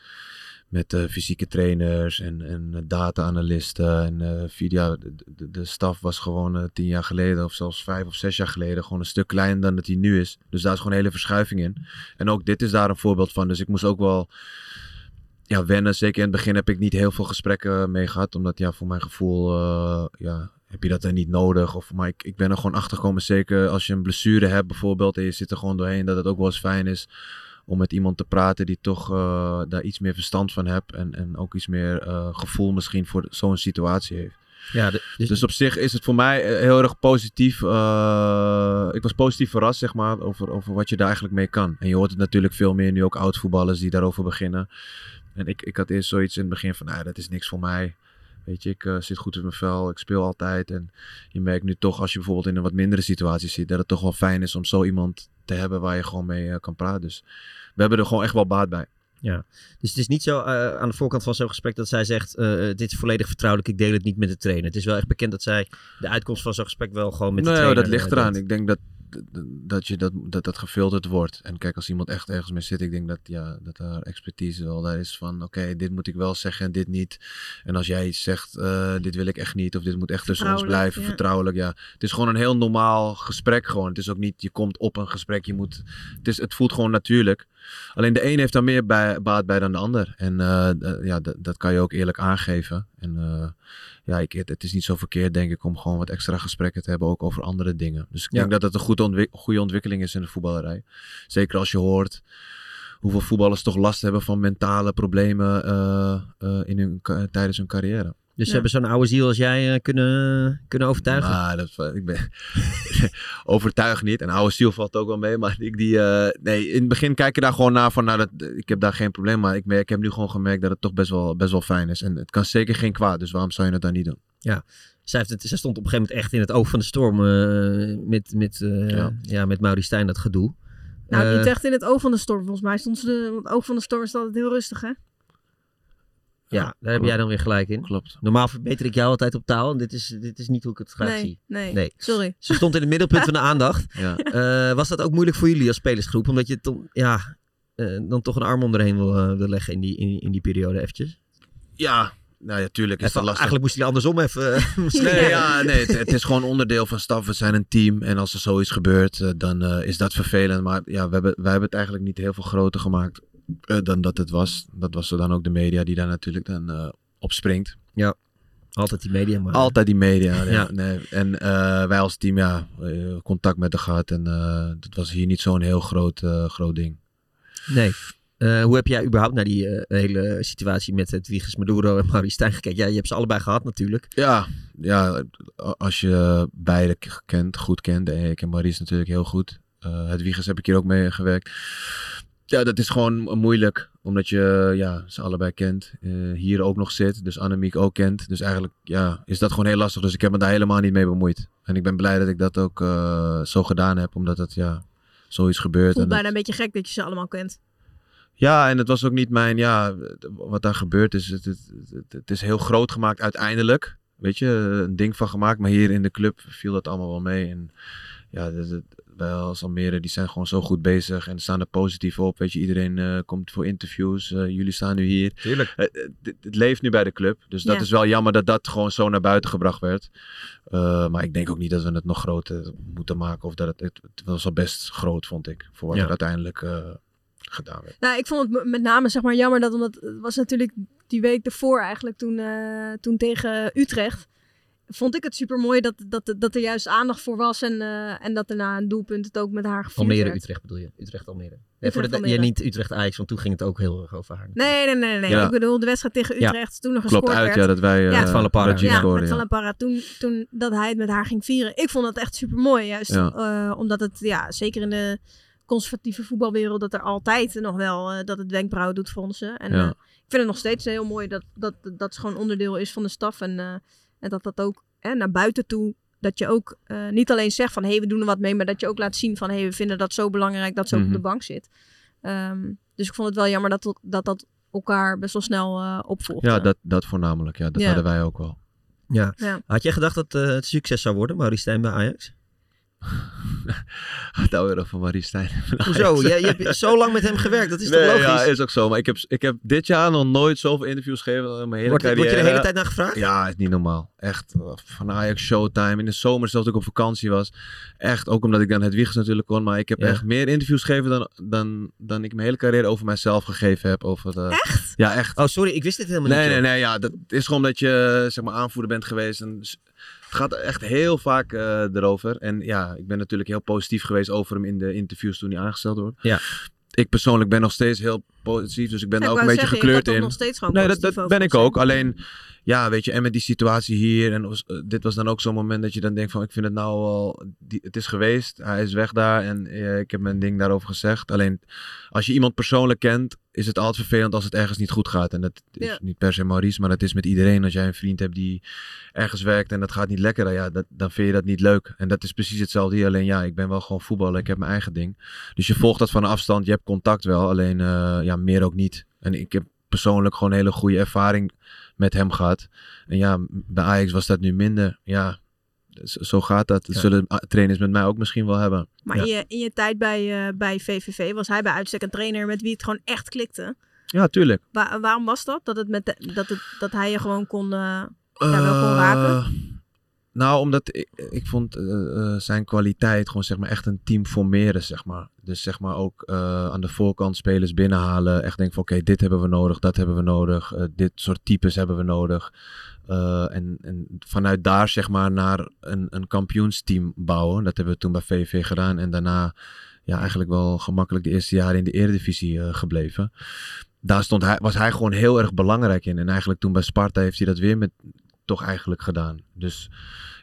Met eh, fysieke trainers en, en data-analisten en eh video. De, de, de staf was gewoon eh, tien jaar geleden of zelfs vijf of zes jaar geleden gewoon een stuk kleiner dan dat hij nu is. Dus daar is gewoon een hele verschuiving in. En ook dit is daar een voorbeeld van. Dus ik moest ook wel ja, wennen. Zeker in het begin heb ik niet heel veel gesprekken eh, mee gehad. Omdat ja, voor mijn gevoel eh, ja, heb je dat dan niet nodig. Of, maar ik, ik ben er gewoon achter gekomen. Zeker als je een blessure hebt bijvoorbeeld. En je zit er gewoon doorheen. Dat het ook wel eens fijn is om met iemand te praten die toch eh, daar iets meer verstand van hebt. En, en ook iets meer eh, gevoel misschien voor zo'n situatie heeft.
Ja, de- dus,
Dus op zich is het voor mij eh, heel erg positief. eh, ik was positief verrast, zeg maar, over, over wat je daar eigenlijk mee kan. En je hoort het natuurlijk veel meer nu ook oud-voetballers die daarover beginnen. En ik, ik had eerst zoiets in het begin van, nou, dat is niks voor mij. Weet je, ik eh, zit goed in mijn vel, ik speel altijd. En je merkt nu toch, als je bijvoorbeeld in een wat mindere situatie zit, dat het toch wel fijn is om zo iemand te hebben waar je gewoon mee eh, kan praten. Dus we hebben er gewoon echt wel baat bij.
dus het is niet zo eh, aan de voorkant van zo'n gesprek dat zij zegt, eh, dit is volledig vertrouwelijk, ik deel het niet met de trainer. Het is wel echt bekend dat zij de uitkomst van zo'n gesprek wel gewoon met de
nou, ja,
trainer...
dat ligt
eh,
eraan.
deelt.
Ik denk dat d- d- dat, je dat, dat dat gefilterd wordt. En kijk, als iemand echt ergens mee zit, ik denk dat, ja, dat haar expertise wel daar is van, oké, dit moet ik wel zeggen en dit niet. En als jij iets zegt, eh, dit wil ik echt niet, of dit moet echt tussen ons
Vertrouwelijk,
blijven,
ja.
vertrouwelijk, ja. Het is gewoon een heel normaal gesprek gewoon. Het is ook niet, je komt op een gesprek, je moet, het, is, het voelt gewoon natuurlijk. Alleen de een heeft daar meer bij, baat bij dan de ander. En eh, d- ja, d- dat kan je ook eerlijk aangeven. En eh, ja, ik, het, het is niet zo verkeerd, denk ik, om gewoon wat extra gesprekken te hebben, ook over andere dingen. Dus ik
Ja.
denk dat het een goede, ontwik- goede ontwikkeling is in de voetballerij. Zeker als je hoort hoeveel voetballers toch last hebben van mentale problemen eh, eh, in hun, ka- tijdens hun carrière.
Dus ze
Ja.
hebben zo'n oude ziel als jij eh, kunnen, kunnen overtuigen.
Maar dat, ik ben (laughs) overtuigd niet. En oude ziel valt ook wel mee. Maar ik die, eh, nee, in het begin kijk je daar gewoon naar van, nou, dat, ik heb daar geen probleem. Maar ik, merk, ik heb nu gewoon gemerkt dat het toch best wel, best wel fijn is. En het kan zeker geen kwaad. Dus waarom zou je het dan niet doen?
Zij, heeft het, zij stond op een gegeven moment echt in het oog van de storm eh, met, met, eh, ja.
Ja.
met Mauri Stijn, dat gedoe.
Nou,
Eh,
niet echt in het oog van de storm. Volgens mij stond ze... De, want het oog van de storm is altijd heel rustig, hè?
Ja, daar heb jij dan weer gelijk in.
Klopt.
Normaal verbeter ik jou altijd op taal. En dit is, dit is niet hoe ik het graag zie.
Nee, nee,
Nee.
Sorry.
Ze stond in het middelpunt van de aandacht.
Ja.
Eh, was dat ook moeilijk voor jullie als spelersgroep? Omdat je toch, ja, eh, dan toch een arm om erheen wil, eh, wil leggen in die, in, in die periode eventjes.
Ja, nou ja, tuurlijk is
Even-
dat lastig.
eigenlijk moesten jullie andersom even... eh, (laughs) misschien-
Nee, ja, nee het, het is gewoon onderdeel van staf. We zijn een team. En als er zoiets gebeurt, eh, dan eh, is dat vervelend. Maar ja, we hebben, wij hebben het eigenlijk niet heel veel groter gemaakt eh, dan dat het was. Dat was dan ook de media die daar natuurlijk dan eh, op springt.
Altijd die media, maar...
Altijd die media. Ja.
Ja.
Nee. En eh, wij als team, ja, eh, contact met de gehad. En eh, dat was hier niet zo'n heel groot, eh, groot ding.
Nee. Eh, hoe heb jij überhaupt naar die eh, hele situatie met het Wiegers Maduro en Mauri Stijn gekeken? Ja, je hebt ze allebei gehad natuurlijk.
Ja, ja, a- als je beide k- kent, goed kent. de Eek en Maurice natuurlijk heel goed. Eh het Wiegers heb ik hier ook mee gewerkt. Ja, dat is gewoon mo- moeilijk. Omdat je ja, ze allebei kent. eh, hier ook nog zit. Dus Annemiek ook kent. Dus eigenlijk ja, is dat gewoon heel lastig. Dus ik heb me daar helemaal niet mee bemoeid. En ik ben blij dat ik dat ook eh, zo gedaan heb. Omdat dat ja, zoiets gebeurt.
Het voelt
en dat-
bijna een beetje gek dat je ze allemaal kent.
ja, en het was ook niet mijn, ja, wat daar gebeurd is. Het, het, het, het is heel groot gemaakt uiteindelijk. Weet je, een ding van gemaakt. Maar hier in de club viel dat allemaal wel mee. En ja, dat- dat- wij als Almere, die zijn gewoon zo goed bezig. En staan er positief op. Weet je, iedereen eh, komt voor interviews. Eh, jullie staan nu hier.
Tuurlijk.
Eh, eh, dit- het leeft nu bij de club. Dus dat
Ja.
is wel jammer dat dat gewoon zo naar buiten gebracht werd. Eh, maar ik denk ook niet dat we het nog groter moeten maken. Of dat het, het, het was al best groot, vond ik. Voor wat
Ja.
er uiteindelijk eh, gedaan werd.
Nou, ik vond het m- met name zeg maar jammer dat... Omdat het was natuurlijk die week ervoor eigenlijk toen, eh, toen tegen Utrecht... Vond ik het super mooi dat, dat, dat er juist aandacht voor was. En, eh, en dat daarna een doelpunt het ook met haar gevierd
Almere,
werd.
Utrecht bedoel je? Utrecht, Almere. Nee,
Ah, Utrecht,
voor de,
Almere.
Ja, niet Utrecht, Ajax, want toen ging het ook heel erg over haar.
Nee, nee, nee. nee.
Ja.
Ik bedoel, de wedstrijd tegen
Ja.
Utrecht toen nog gescoord
Klopt uit,
werd.
ja, dat wij
Ja.
eh
Met Van La Parra.
Rajiv
die
ja,
scoorden,
met
ja.
Van Parra. Toen, toen dat hij het met haar ging vieren. Ik vond dat echt super mooi. Juist
Ja.
eh, omdat het, ja, zeker in de conservatieve voetbalwereld, dat er altijd nog wel eh, dat het wenkbrauwen doet fronsen. En
Ja.
eh, ik vind het nog steeds heel mooi dat dat, dat ze gewoon onderdeel is van de staf. En, eh, en dat dat ook hè, naar buiten toe. Dat je ook eh, niet alleen zegt van hé, hey, we doen er wat mee, maar dat je ook laat zien van hé, hey, we vinden dat zo belangrijk dat ze ook
Mhm.
op de bank zit. Ehm, dus ik vond het wel jammer dat dat, dat elkaar best wel snel eh, opvolgt.
Ja, dat, dat voornamelijk. Ja, dat
Ja.
hadden wij ook wel. (laughs)
Ja.
Ja.
Had jij gedacht dat eh, het succes zou worden, Mauri Stijn bij
(laughs)
Ajax?
Het oude van Marie Stijn. (laughs)
Hoezo? Jij- je hebt zo lang met hem gewerkt, dat is toch logisch?
Ja, is ook zo. Maar ik heb, ik heb dit jaar nog nooit zoveel interviews gegeven. in Mijn hele
Wordt wordt je
carrière.
de hele tijd naar gevraagd?
Ja, is niet normaal. Echt, eh, van Ajax Showtime. In de zomer, zelfs dat ik op vakantie was. Echt, ook omdat ik dan het Wiegers natuurlijk kon. Maar ik heb
Ja.
echt meer interviews gegeven dan, dan, dan ik mijn hele carrière over mijzelf gegeven heb. Over de, echt? Ja, echt.
Oh, sorry, ik wist dit helemaal
Nee,
niet.
nee,
joh.
nee. Ja, dat is gewoon dat je zeg maar, aanvoerder bent geweest. En s- het gaat echt heel vaak eh, erover. En ja, ik ben natuurlijk heel positief geweest over hem in de interviews toen hij aangesteld wordt.
Ja.
Ik persoonlijk ben nog steeds heel positief, dus ik ben
Ja,
daar
ik
ook een
wou zeggen,
beetje
je
gekleurd
kan toch
in.
nog steeds gewoon
Nee, dat,
positief
dat
over
ben ik
zijn.
ook. Alleen, ja, weet je, en met die situatie hier. En ons- eh, dit was dan ook zo'n moment dat je dan denkt van, ik vind het nou al, die, het is geweest. Hij is weg daar en eh, ik heb mijn ding daarover gezegd. Alleen, als je iemand persoonlijk kent, is het altijd vervelend als het ergens niet goed gaat. En dat is
Ja.
niet per se Maurice, maar dat is met iedereen. Als jij een vriend hebt die ergens werkt en dat gaat niet lekker, dan, ja, dat, dan vind je dat niet leuk. En dat is precies hetzelfde hier. Alleen ja, ik ben wel gewoon voetballer, ik heb mijn eigen ding. Dus je volgt dat van een afstand, je hebt contact wel, alleen eh, ja, meer ook niet. En ik heb persoonlijk gewoon een hele goede ervaring met hem gehad. En ja, m- bij Ajax was dat nu minder. Ja, z- zo gaat dat. Dat
Ja.
zullen ah, trainers met mij ook misschien wel hebben.
Maar
Ja.
in, je, in je tijd bij, eh, bij VVV was hij bij uitstek een trainer met wie het gewoon echt klikte.
Ja, tuurlijk.
Wa- waarom was dat? Dat, het met de- dat, het, dat hij je gewoon kon... eh, Daar wel kon raken?
Eh, Nou, omdat ik, ik vond eh, eh, zijn kwaliteit gewoon zeg maar echt een team formeren, zeg maar. Dus zeg maar ook eh, aan de voorkant spelers binnenhalen. Echt denken van oké, dit hebben we nodig, dat hebben we nodig. eh, dit soort types hebben we nodig. Eh, en, en vanuit daar zeg maar naar een, een kampioensteam bouwen. Dat hebben we toen bij VV gedaan. En daarna ja, eigenlijk wel gemakkelijk de eerste jaren in de eredivisie eh, gebleven. Daar stond hij, was hij gewoon heel erg belangrijk in. En eigenlijk toen bij Sparta heeft hij dat weer met, toch eigenlijk gedaan. Dus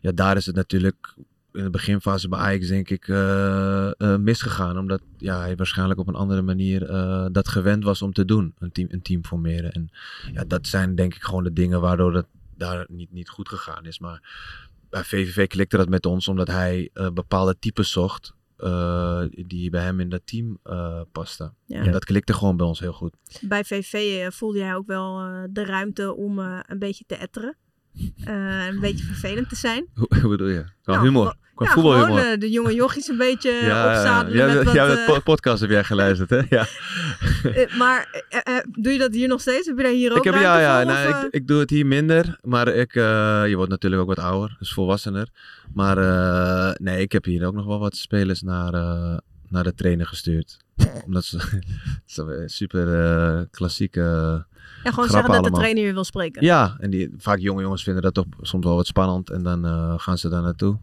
ja, daar is het natuurlijk in de beginfase bij Ajax denk ik eh, eh, misgegaan. Omdat ja, hij waarschijnlijk op een andere manier eh, dat gewend was om te doen. Een team, een team formeren. En ja, dat zijn denk ik gewoon de dingen waardoor dat daar niet, niet goed gegaan is. Maar bij VVV klikte dat met ons omdat hij eh, bepaalde types zocht. eh, die bij hem in dat team eh pasten.
Ja.
En dat klikte gewoon bij ons heel goed.
bij VV eh, voelde jij ook wel eh, de ruimte om eh, een beetje te etteren. Eh, een beetje vervelend te zijn.
Hoe hoe bedoel je? Qua
Nou,
humor. Qua
ja,
voetbalhumor.
gewoon eh, de jonge jochies een beetje eh, opzadelen
ja,
met wat...
ja,
eh,
po- podcast heb jij geluisterd, hè? Ja.
eh, maar eh, eh, doe je dat hier nog steeds? Heb je daar hier (laughs) ook
Ik, heb,
ruimte
ja, ja
voor?
nou,
of, eh?
ik, ik doe het hier minder, maar ik, eh, je wordt natuurlijk ook wat ouder, dus volwassener. Maar eh, nee, ik heb hier ook nog wel wat spelers naar, eh, naar de trainer
(laughs)
gestuurd. Omdat ze, (laughs) ze hebben super eh, klassieke...
ja, gewoon
grappen
zeggen dat de
allemaal.
trainer je wil spreken.
ja, en die, vaak jonge jongens vinden dat toch soms wel wat spannend en dan eh, gaan ze daar naartoe.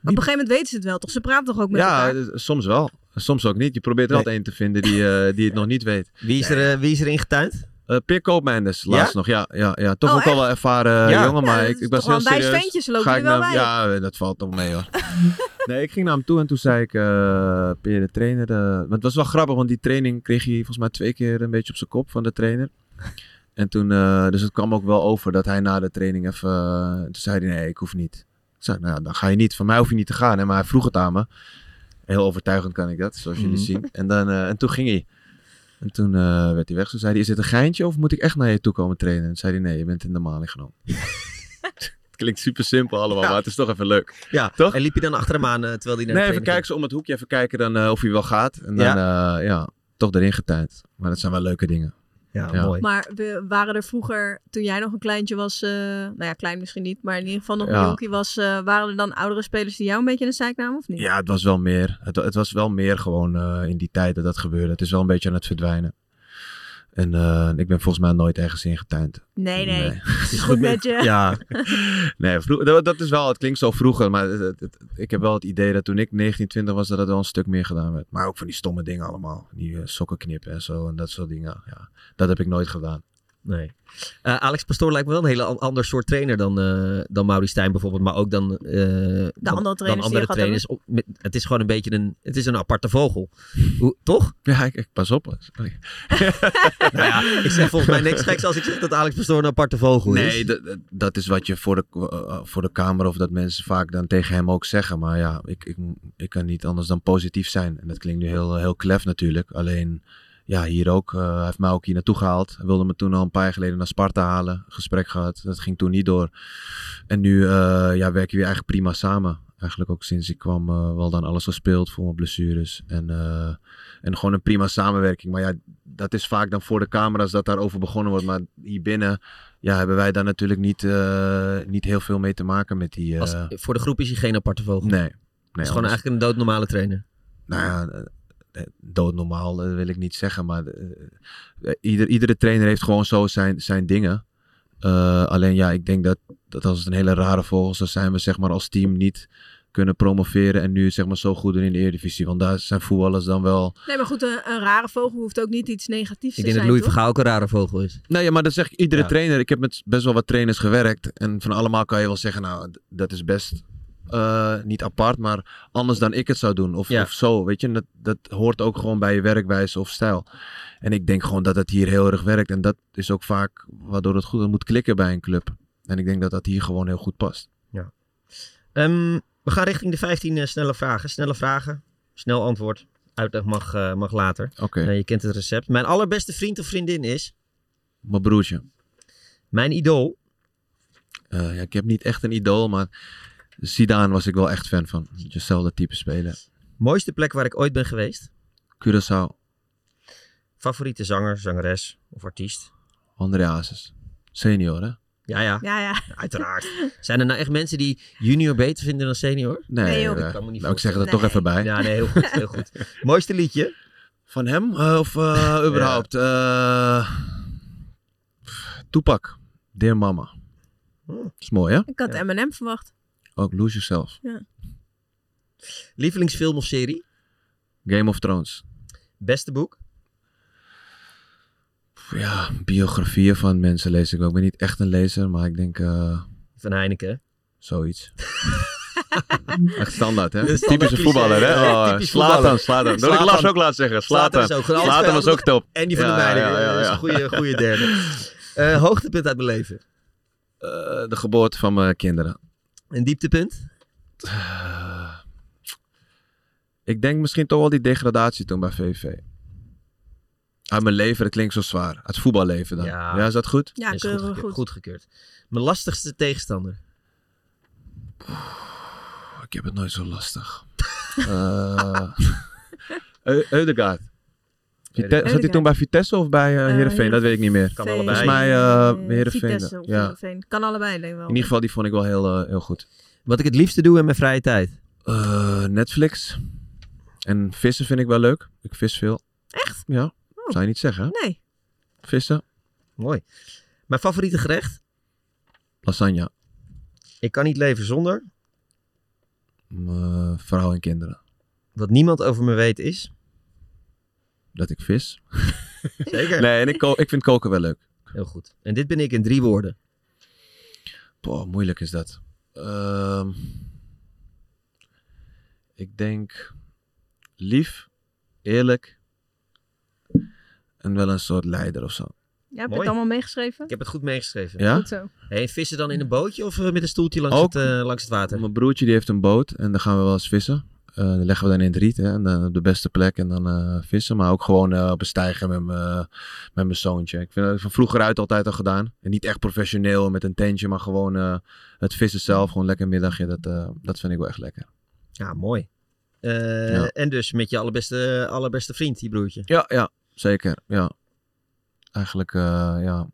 Maar op een gegeven moment weten ze het wel, toch? Ze praten toch ook met
Ja,
elkaar?
eh, soms wel. Soms ook niet. Je probeert er
Nee.
altijd één te vinden die, eh,
(laughs)
die het nog niet weet.
Wie is, er, eh, wie is er ingetuind?
eh Peer Koopmeinders, laatst nog. Ja, ja, ja. toch
Oh,
ook al wel ervaren eh,
Ja.
jongen, maar
dat
ik,
is
ik was
toch wel
heel
een wijs
serieus.
ventje, ze lopen
Ga
er
ik
wel
naar hem- Ja, eh, dat valt toch mee
(laughs)
hoor. nee, ik ging naar hem toe en toen zei ik, eh Peer de trainer, eh, want het was wel grappig, want die training kreeg hij volgens mij twee keer een beetje op zijn kop van de trainer. En toen, eh, dus het kwam ook wel over dat hij na de training even, eh, toen zei hij nee, ik hoef niet. Ik zei, nou ja, dan ga je niet. Van mij hoef je niet te gaan. Hè? Maar hij vroeg het aan me. Heel overtuigend kan ik dat, zoals jullie
Mhm.
zien. En, dan, eh, en toen ging hij. En toen eh, werd hij weg. Toen zei hij, is dit een geintje of moet ik echt naar je toe komen trainen? En toen zei hij, nee, je bent in de maling genomen. (laughs) het klinkt super simpel allemaal,
Ja.
maar het is toch even leuk.
Ja,
Toch?
En liep je dan achter hem aan eh, terwijl hij naar
Nee,
de
even
trainer
kijken ze om het hoekje, even kijken dan, eh, of hij wel gaat. En dan, ja, ja toch erin getuind. Maar dat zijn wel leuke dingen.
ging? Ja,
Ja.
mooi.
Maar we waren er vroeger, toen jij nog een kleintje was, eh, nou ja, klein misschien niet, maar in ieder geval nog een
Ja.
jonkie was, eh, waren er dan oudere spelers die jou een beetje in de zeik namen of niet?
Ja, het was wel meer. Het, wa- het was wel meer gewoon eh, in die tijd dat dat gebeurde. Het is wel een beetje aan het verdwijnen. En eh, ik ben volgens mij nooit ergens ingetuind.
Nee, nee. (laughs)
Nee.
Het is goed met je.
Ja. nee, vroeg, dat, dat is wel, het klinkt zo vroeger, maar het- het- het- ik heb wel het idee dat toen ik 19, 20 was, dat het wel een stuk meer gedaan werd. Maar ook van die stomme dingen allemaal. Die eh, sokken knippen en zo en dat soort dingen. Ja, dat heb ik nooit gedaan.
Nee. Eh, Alex Pastoor lijkt me wel een hele an- ander soort trainer dan, eh dan Mauri Stijn bijvoorbeeld. Maar ook dan, eh, dan,
andere trainers die
dan
je
andere
gehad
trainers. Op- met- het is gewoon een beetje een, het is een aparte vogel. Hoe, toch?
Ja, ik, ik- pas op. Sorry.
nou ja, ik zeg volgens mij niks geks als ik zeg dat Alex Pastoor een aparte vogel is.
Nee, dat- dat- dat is wat je voor de, eh, voor de camera of dat mensen vaak dan tegen hem ook zeggen. Maar ja, ik, ik, ik kan niet anders dan positief zijn. En dat klinkt nu heel, heel klef natuurlijk. Alleen, ja, hier ook. eh, hij heeft mij ook hier naartoe gehaald. Hij wilde me toen al een paar jaar geleden naar Sparta halen. Gesprek gehad. Dat ging toen niet door. En nu eh, ja, werken we eigenlijk prima samen. Eigenlijk ook sinds ik kwam eh, wel dan alles gespeeld voor mijn blessures. En, eh, en gewoon een prima samenwerking. Maar ja, dat is vaak dan voor de camera's dat daarover begonnen wordt. Maar hier binnen ja, hebben wij daar natuurlijk niet, eh, niet heel veel mee te maken met die... eh,
Als-
nee,
voor de groep is hij geen aparte vogel.
nee.
het is gewoon
anders-
eigenlijk een doodnormale trainer.
nou ja, eh, doodnormaal eh, wil ik niet zeggen, maar eh, ieder, iedere trainer heeft gewoon zo zijn, zijn dingen. Eh, alleen ja, ik denk dat, dat als het een hele rare vogel zou zijn, we zeg maar als team niet kunnen promoveren en nu zeg maar zo goed doen in de Eredivisie. Want daar zijn voetballers dan wel...
Nee, maar goed, een, een rare vogel hoeft ook niet iets negatiefs
Ik
te
denk dat
zijn,
Louis van
toch?
Gaal ook een rare vogel is.
Nee, ja, maar dat zeg ik iedere
Ja.
trainer. Ik heb met best wel wat trainers gewerkt. En van allemaal kan je wel zeggen, nou, d- dat is best eh, niet apart, maar anders dan ik het zou doen. Of,
Ja.
of zo, weet je. En Dat, dat hoort ook gewoon bij je werkwijze of stijl. En ik denk gewoon dat het hier heel erg werkt. En dat is ook vaak waardoor het goed het moet klikken bij een club. En ik denk dat dat hier gewoon heel goed past.
Ehm, we gaan richting de 15 eh, snelle vragen. Snelle vragen, snel antwoord. Uitleg mag, eh, mag later.
Oké,
Eh, je kent het recept. Mijn allerbeste vriend of vriendin is
mijn broertje.
mijn idool.
Eh, ja, ik heb niet echt een idool, maar Zidane was ik wel echt fan van. Hetzelfde type spelen.
Mooiste plek waar ik ooit ben geweest?
Curaçao,
Favoriete zanger, zangeres of artiest?
André Hazes. Senior, hè?
Ja, ja,
Ja, ja. (laughs)
uiteraard. Zijn er nou echt mensen die junior beter vinden dan senior?
Nee,
Nee, joh.
eh,
Ik kan me niet
nou, ik zeg er
voorstellen.
toch
Nee.
even bij.
Ja, nee, heel goed. Heel
(laughs)
goed. Mooiste liedje?
Van hem eh, of (laughs) eh, überhaupt? Eh, Toepak, Dear Mama.
Hm.
is mooi, hè?
Ik had
Ja.
M&M verwacht.
Ook Lose Yourself.
Lievelingsfilm of serie?
Game of Thrones.
Beste boek?
Pff, Ja, biografieën van mensen lees ik ook. Ik ben niet echt een lezer, maar ik denk eh,
Van Heineken.
zoiets. (laughs) echt standaard, hè?
Dat is standaard
Typische
cliché,
voetballer, hè?
hè?
Oh,
Typisch
Slatan,
voetballer.
Slatan. Dat ik Lars
Zlatan.
ook laat zeggen.
Zlatan
Slatan.
is ook goed.
Slatan was ook top.
En die van
Ja,
de Meijer.
ja, ja,
Dat is
ja.
een goede, goede
(laughs)
derde. Eh, hoogtepunt uit mijn leven.
Eh, de geboorte van mijn kinderen.
Een dieptepunt?
Eh, ik denk misschien toch wel die degradatie toen bij VV. Uit mijn leven, dat klinkt zo zwaar. Uit voetballeven dan.
Ja.
Ja, is dat goed?
Ja,
Is goed,
keurig
gekeurd,
goed.
goedgekeurd. Mijn lastigste tegenstander?
Oh, ik heb het nooit zo lastig. Eh (laughs) Eu- Eudegaard. Vite-
Eudegaard.
Zat hij toen bij Vitesse of bij eh, Heerenveen? Dat weet ik niet meer.
Kan
Veen.
allebei.
Volgens mij
Eh,
eh Heerenveen.
Vitesse of
ja.
Heerenveen. Kan allebei, denk ik wel.
In ieder geval, die vond ik wel heel, eh, heel goed.
Wat ik het liefste doe in mijn vrije tijd?
Eh, Netflix. En vissen vind ik wel leuk. Ik vis veel. Echt? Oh. Ja. Zou je niet zeggen, hè?
Nee.
Vissen.
Mooi. Mijn favoriete gerecht?
Lasagne.
Ik kan niet leven zonder.
Eh, vrouw en kinderen.
Wat niemand over me weet is.
Dat ik vis.
Zeker.
Nee, en ik, ko- ik vind koken wel leuk.
Heel goed. En dit ben ik in drie woorden.
Boah, moeilijk is dat. Ehm, ik denk lief, eerlijk en wel een soort leider of zo.
Ja, heb je
Mooi.
het allemaal meegeschreven?
Ik heb het goed meegeschreven.
Ja?
Goed zo.
Hey, vissen dan in een bootje of eh, met een stoeltje langs,
Ook.
het, eh, langs het water?
Mijn broertje die heeft een boot en dan gaan we wel eens vissen. Eh dan leggen we dan in het riet hè, en dan op de beste plek en dan eh, vissen. Maar ook gewoon eh, op een steiger met mijn- met mijn zoontje. Ik vind dat van vroeger uit altijd al gedaan. En niet echt professioneel met een tentje, maar gewoon eh, het vissen zelf. Gewoon lekker middagje, dat, eh, dat vind ik wel echt lekker.
Ja, mooi. Eh,
Ja.
En dus met je allerbeste, allerbeste vriend, die broertje.
Ja, ja, zeker. Ja. Eigenlijk, eh, ja.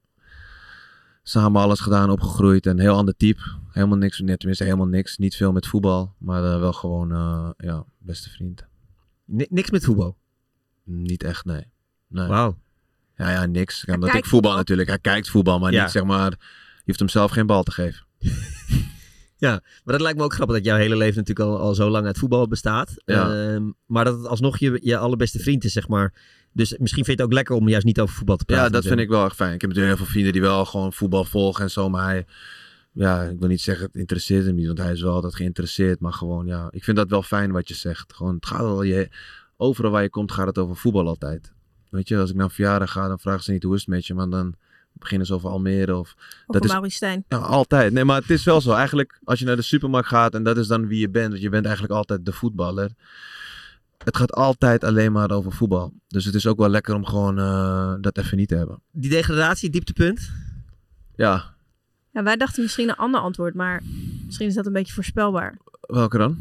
Samen alles gedaan, opgegroeid. Een heel ander type. Helemaal niks, nee, tenminste helemaal niks. Niet veel met voetbal, maar eh, wel gewoon, eh, ja, beste vriend.
Ni- niks met voetbal.
Niet echt, nee. nee.
Wauw.
Ja, ja, niks.
Hij
Omdat ik
kijkt
voetbal
voetbal.
natuurlijk. Hij kijkt voetbal, maar
Ja.
niet zeg maar. Je hoeft hem zelf geen bal te geven.
Maar dat lijkt me ook grappig dat jouw hele leven natuurlijk al, al zo lang uit voetbal bestaat.
Ja.
Ehm, maar dat het alsnog je, je allerbeste vriend is, zeg maar. Dus misschien vind je het ook lekker om juist niet over voetbal te praten.
Ja, dat vind ik wel echt fijn. Ik heb natuurlijk heel veel vrienden die wel gewoon voetbal volgen en zo, maar hij... Ja, ik wil niet zeggen het interesseert hem niet, want hij is wel altijd geïnteresseerd. Maar gewoon, ja, ik vind dat wel fijn wat je zegt. Gewoon, het gaat wel je... Overal waar je komt gaat het over voetbal altijd. Weet je, als ik naar een verjaardag ga, dan vragen ze niet hoe is het met je, maar dan beginnen ze over Almere of...
Of
Dat
dat
is-
Stijn.
Ja, altijd. Nee, maar het is wel zo. Eigenlijk, als je naar de supermarkt gaat en dat is dan wie je bent, want je bent eigenlijk altijd de voetballer. Het gaat altijd alleen maar over voetbal. Dus het is ook wel lekker om gewoon eh, dat even niet te hebben.
Die degradatie, dieptepunt.
Ja,
Ja, wij dachten misschien een ander antwoord, maar misschien is dat een beetje voorspelbaar.
welke dan?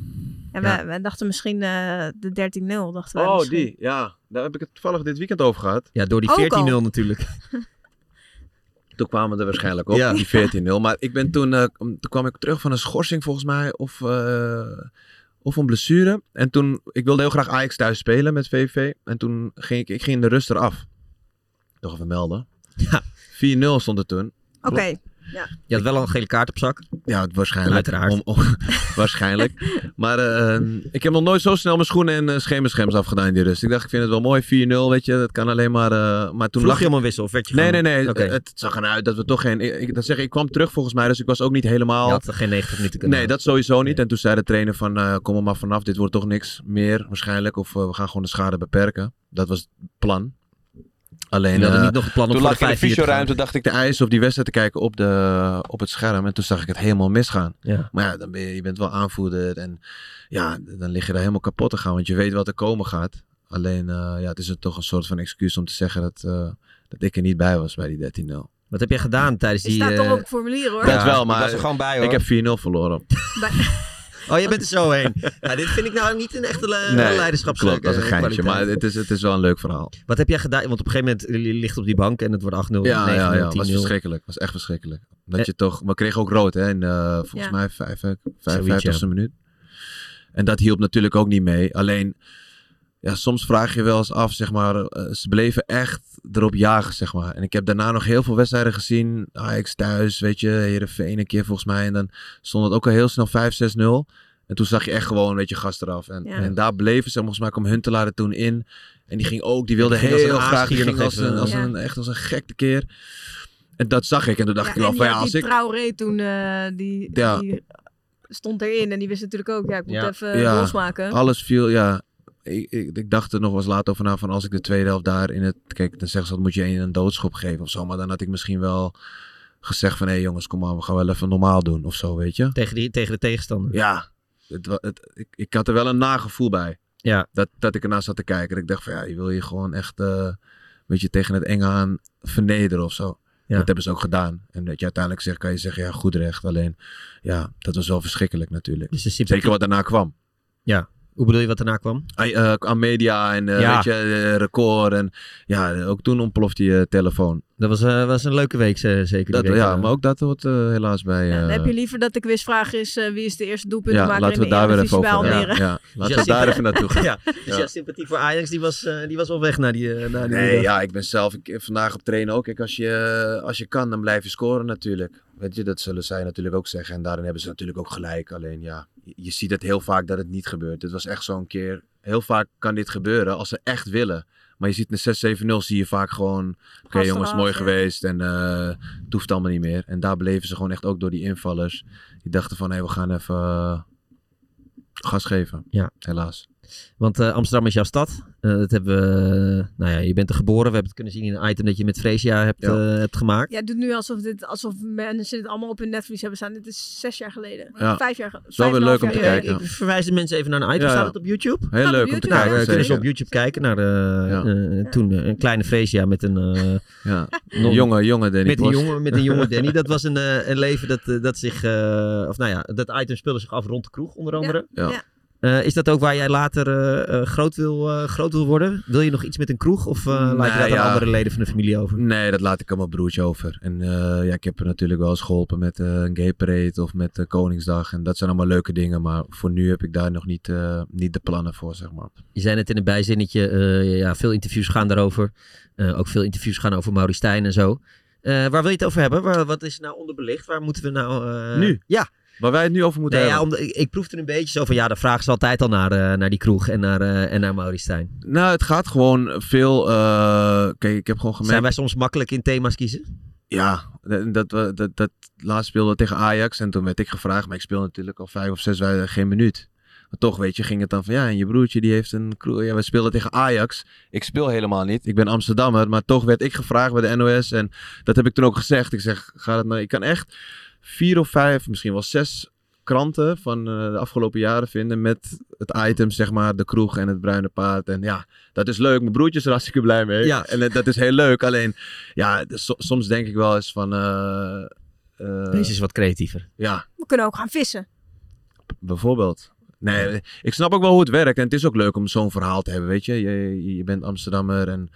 Ja, Wij, wij dachten misschien eh, de 13-0, dachten
Oh,
wij misschien.
Ja, daar heb ik het toevallig dit weekend over gehad.
Ja, door die
Ook
14-0
al.
natuurlijk.
Toen kwamen we er waarschijnlijk op,
Ja.
die 14-0. Maar ik ben toen, eh, om- toen kwam ik terug van een schorsing volgens mij of, eh, of een blessure. En toen, ik wilde heel graag Ajax thuis spelen met VV. En toen ging ik, ik ging in de rust eraf. Toch even melden.
Ja.
4-0 stond het toen.
Oké,
Je had wel al een gele kaart op zak.
Ja, het- waarschijnlijk.
Uiteraard.
Om- om- (laughs) waarschijnlijk. Maar eh, ik heb nog nooit zo snel mijn schoenen en uh, schemerscherms afgedaan in die rust. Ik dacht, ik vind het wel mooi, 4-0, weet je. Dat kan alleen maar... eh, maar toen
Toen lag
lag
je om een wissel of werd je
Nee, nee,
gewoon-
nee.
Oké.
Het, het zag eruit dat we toch geen... Ik, ik, dat zeg, ik ik kwam terug volgens mij, dus ik was ook niet helemaal...
Je had er geen 90 minuten kunnen
Nee,
houden.
dat sowieso niet.
Nee.
En toen zei de trainer van, eh, kom er maar vanaf. Dit wordt toch niks meer waarschijnlijk. Of eh, we gaan gewoon de schade beperken. Dat was het plan. Alleen...
Je
eh,
had niet nog het plan om
toen
voor
lag ik in de
5-4 te gaan.
fysioruimte, dacht ik de ijs op die wedstrijd te kijken op, de, op het scherm. En toen zag ik het helemaal misgaan.
Ja.
Maar ja, dan ben je, je bent wel aanvoerder. En ja, dan lig je daar helemaal kapot te gaan. Want je weet wat er komen gaat. Alleen, eh, ja, het is er toch een soort van excuus om te zeggen dat, eh, dat ik er niet bij was bij die 13-0.
Wat heb jij gedaan tijdens
je
die...
staat toch
eh,
op het formulier hoor.
dat wel,
ik
maar
was er gewoon bij hoor.
Ik heb 4-0 verloren.
Bij-
Oh, je bent er
(laughs)
zo heen. Nou, dit vind ik nou niet een echte
Eh,
le- leiderschapskwaliteit.
klopt, dat is een geintje. Maar het is, het is wel een leuk verhaal.
Wat heb jij gedaan? Want op een gegeven moment je ligt op die bank en het wordt 8-0, 9-0,
Ja, ja, ja.
10-0.
was verschrikkelijk. was echt verschrikkelijk.
Eh.
Dat je toch... We kregen ook rood, hè. In, eh, volgens
Ja.
mij vijf- vijf-
Zoiets,
55ste
ja.
minuut. En dat hielp natuurlijk ook niet mee. Alleen, ja, soms vraag je wel eens af, zeg maar... eh, ze bleven echt erop jagen, zeg maar. En ik heb daarna nog heel veel wedstrijden gezien. Ajax thuis, weet je. Heerenveen een keer volgens mij. En dan stond het ook al heel snel 5-6-0. En toen zag je echt gewoon, weet je, gast eraf. En,
Ja.
en daar bleven ze. Volgens mij kwam Huntelaar er toen in. En die ging ook, die wilde
Die ging als een
heel graag. Die
aasgier
ging
nog
als
even,
een, als
eh,
een, echt als een gekte keer. En dat zag ik. En toen dacht ik
en
wel
die
van ja,
had
als
die
ik...
Traoré toen, eh, die,
Ja.
die stond erin en die wist natuurlijk ook, ja, ik moet
Ja.
even
Ja. Oh,
losmaken.
Alles viel, ja. Ik, ik, ik dacht er nog wel eens laat over na van als ik de tweede helft daar in het... Kijk, dan zeggen ze dat moet je een, een doodschop geven of zo. Maar dan had ik misschien wel gezegd van... Hé jongens, kom maar, we gaan wel even normaal doen of zo, weet je.
Tegen, die, tegen de tegenstander.
Ja, het, wa- het, ik, ik had er wel een nagevoel bij.
Ja.
Dat, dat ik ernaar zat te kijken. Dat ik dacht van ja, je wil je gewoon echt... eh weet je, tegen het enge aan vernederen of zo.
Ja.
Dat hebben ze ook gedaan. En dat je uiteindelijk zegt, kan je zeggen, ja, goed recht. Alleen, ja, dat was wel verschrikkelijk natuurlijk.
Dus de sympathie-
Zeker wat daarna kwam.
Hoe bedoel je wat daarna kwam?
Ai- eh, aan media en eh,
Ja.
weet je, eh, record. En ja, ook toen ontplofte je telefoon.
Dat was, eh, was een leuke week, ze- zeker. die
Dat,
week.
ja, maar ook dat wordt eh, helaas bij...
Ja, dan
eh,
heb je liever dat de quizvraag is eh, wie is de eerste doelpunt
ja,
maken
laten we
in de
daar weer even
Eredivisie
over
bij
gaan.
Almere.
Ja, ja. laten
Ja,
we daar
zeker.
even naartoe gaan.
Ja, dus
Ja.
jouw sympathie voor Ajax, die was, eh, die was al weg naar die... eh, naar die
Nee, ja, ik ben zelf ik, vandaag op trainen ook. Kijk, als je, eh, als je kan, dan blijf je scoren natuurlijk. Weet je, dat zullen zij natuurlijk ook zeggen. En daarin hebben ze natuurlijk ook gelijk. Alleen ja, je, je ziet het heel vaak dat het niet gebeurt. Dit was echt zo'n keer. Heel vaak kan dit gebeuren als ze echt willen. Maar je ziet een 6-7-0 zie je vaak gewoon... Oké
Gast
jongens,
eraf,
mooi
ja.
geweest. En eh, het hoeft allemaal niet meer. En daar bleven ze gewoon echt ook door die invallers. Die dachten van, hé, we gaan even eh, gas geven.
Ja.
Helaas.
Want eh, Amsterdam is jouw stad. Eh, dat hebben we... nou ja, je bent er geboren. We hebben het kunnen zien in een item dat je met Freesia hebt,
Ja.
eh, hebt gemaakt.
Ja, het doet nu alsof, dit, alsof mensen dit allemaal op hun netvlies hebben staan. Dit is zes jaar geleden.
Ja.
Vijf jaar geleden.
wel weer leuk om te
Ja,
kijken.
ik verwijs de mensen even naar een item.
Ja,
Staat
ja.
het op YouTube?
Heel
op
leuk om te
YouTube,
Nou,
kijken.
eh, kunnen ze
zeker.
op YouTube kijken naar de, eh, toen eh, een kleine Freesia met een...
(laughs)
eh,
Ja.
nog-
Jonge, jonge Danny
Met een,
Post.
jongen, met een jonge Danny. Dat was een, eh, een leven dat, eh, dat zich. eh, of nou ja, dat item speelde zich af rond de kroeg, onder andere.
Ja.
Ja.
Eh, is dat ook waar jij later eh, eh, groot, wil, eh, groot wil worden? Wil je nog iets met een kroeg? Of eh, laat je
Nee,
dat aan
ja.
andere leden van de familie over?
Nee, dat laat ik aan mijn broertje over. En eh, ja, ik heb er natuurlijk wel eens geholpen met eh, een gay parade of met eh, Koningsdag. En dat zijn allemaal leuke dingen. Maar voor nu heb ik daar nog niet, eh, niet de plannen voor, zeg maar.
Je zei net in een bijzinnetje, eh, ja, veel interviews gaan daarover. Eh, ook veel interviews gaan over Mauri Stijn en zo. Eh, waar wil je het over hebben? Waar, wat is nou onderbelicht? Waar moeten we nou... eh,
Nu?
Ja,
Waar wij het nu over moeten
nee, ja
hebben.
om, ik, ik proefde een beetje zo van... Ja, de vraag is altijd al naar, eh, naar die kroeg en naar, eh en naar Mauri Stijn.
Nou, het gaat gewoon veel... eh, Kijk, ik heb gewoon gemerkt...
Zijn wij soms makkelijk in thema's kiezen?
Ja, dat, dat, we- dat, dat laatst speelde tegen Ajax en toen werd ik gevraagd, maar ik speel natuurlijk al vijf of zes wedstrijden geen minuut. Maar toch, weet je, ging het dan van ja, en je broertje die heeft een crew. Ja, we speelden tegen Ajax. Ik speel helemaal niet. Ik ben Amsterdammer, maar toch werd ik gevraagd bij de NOS en dat heb ik toen ook gezegd. Ik zeg, ga dat nou, ik kan echt vier of vijf, misschien wel zes kranten van eh, de afgelopen jaren vinden met het item, zeg maar, de kroeg en het bruine paard. En ja, dat is leuk. Mijn broertje is er hartstikke blij mee.
Ja.
En eh, dat is heel leuk. Alleen, ja, so- soms denk ik wel eens van... eh, eh,
Deze is wat creatiever.
ja,
We kunnen ook gaan vissen.
bijvoorbeeld. Nee, ik snap ook wel hoe het werkt. En het is ook leuk om zo'n verhaal te hebben, weet je. Je, je bent Amsterdammer en...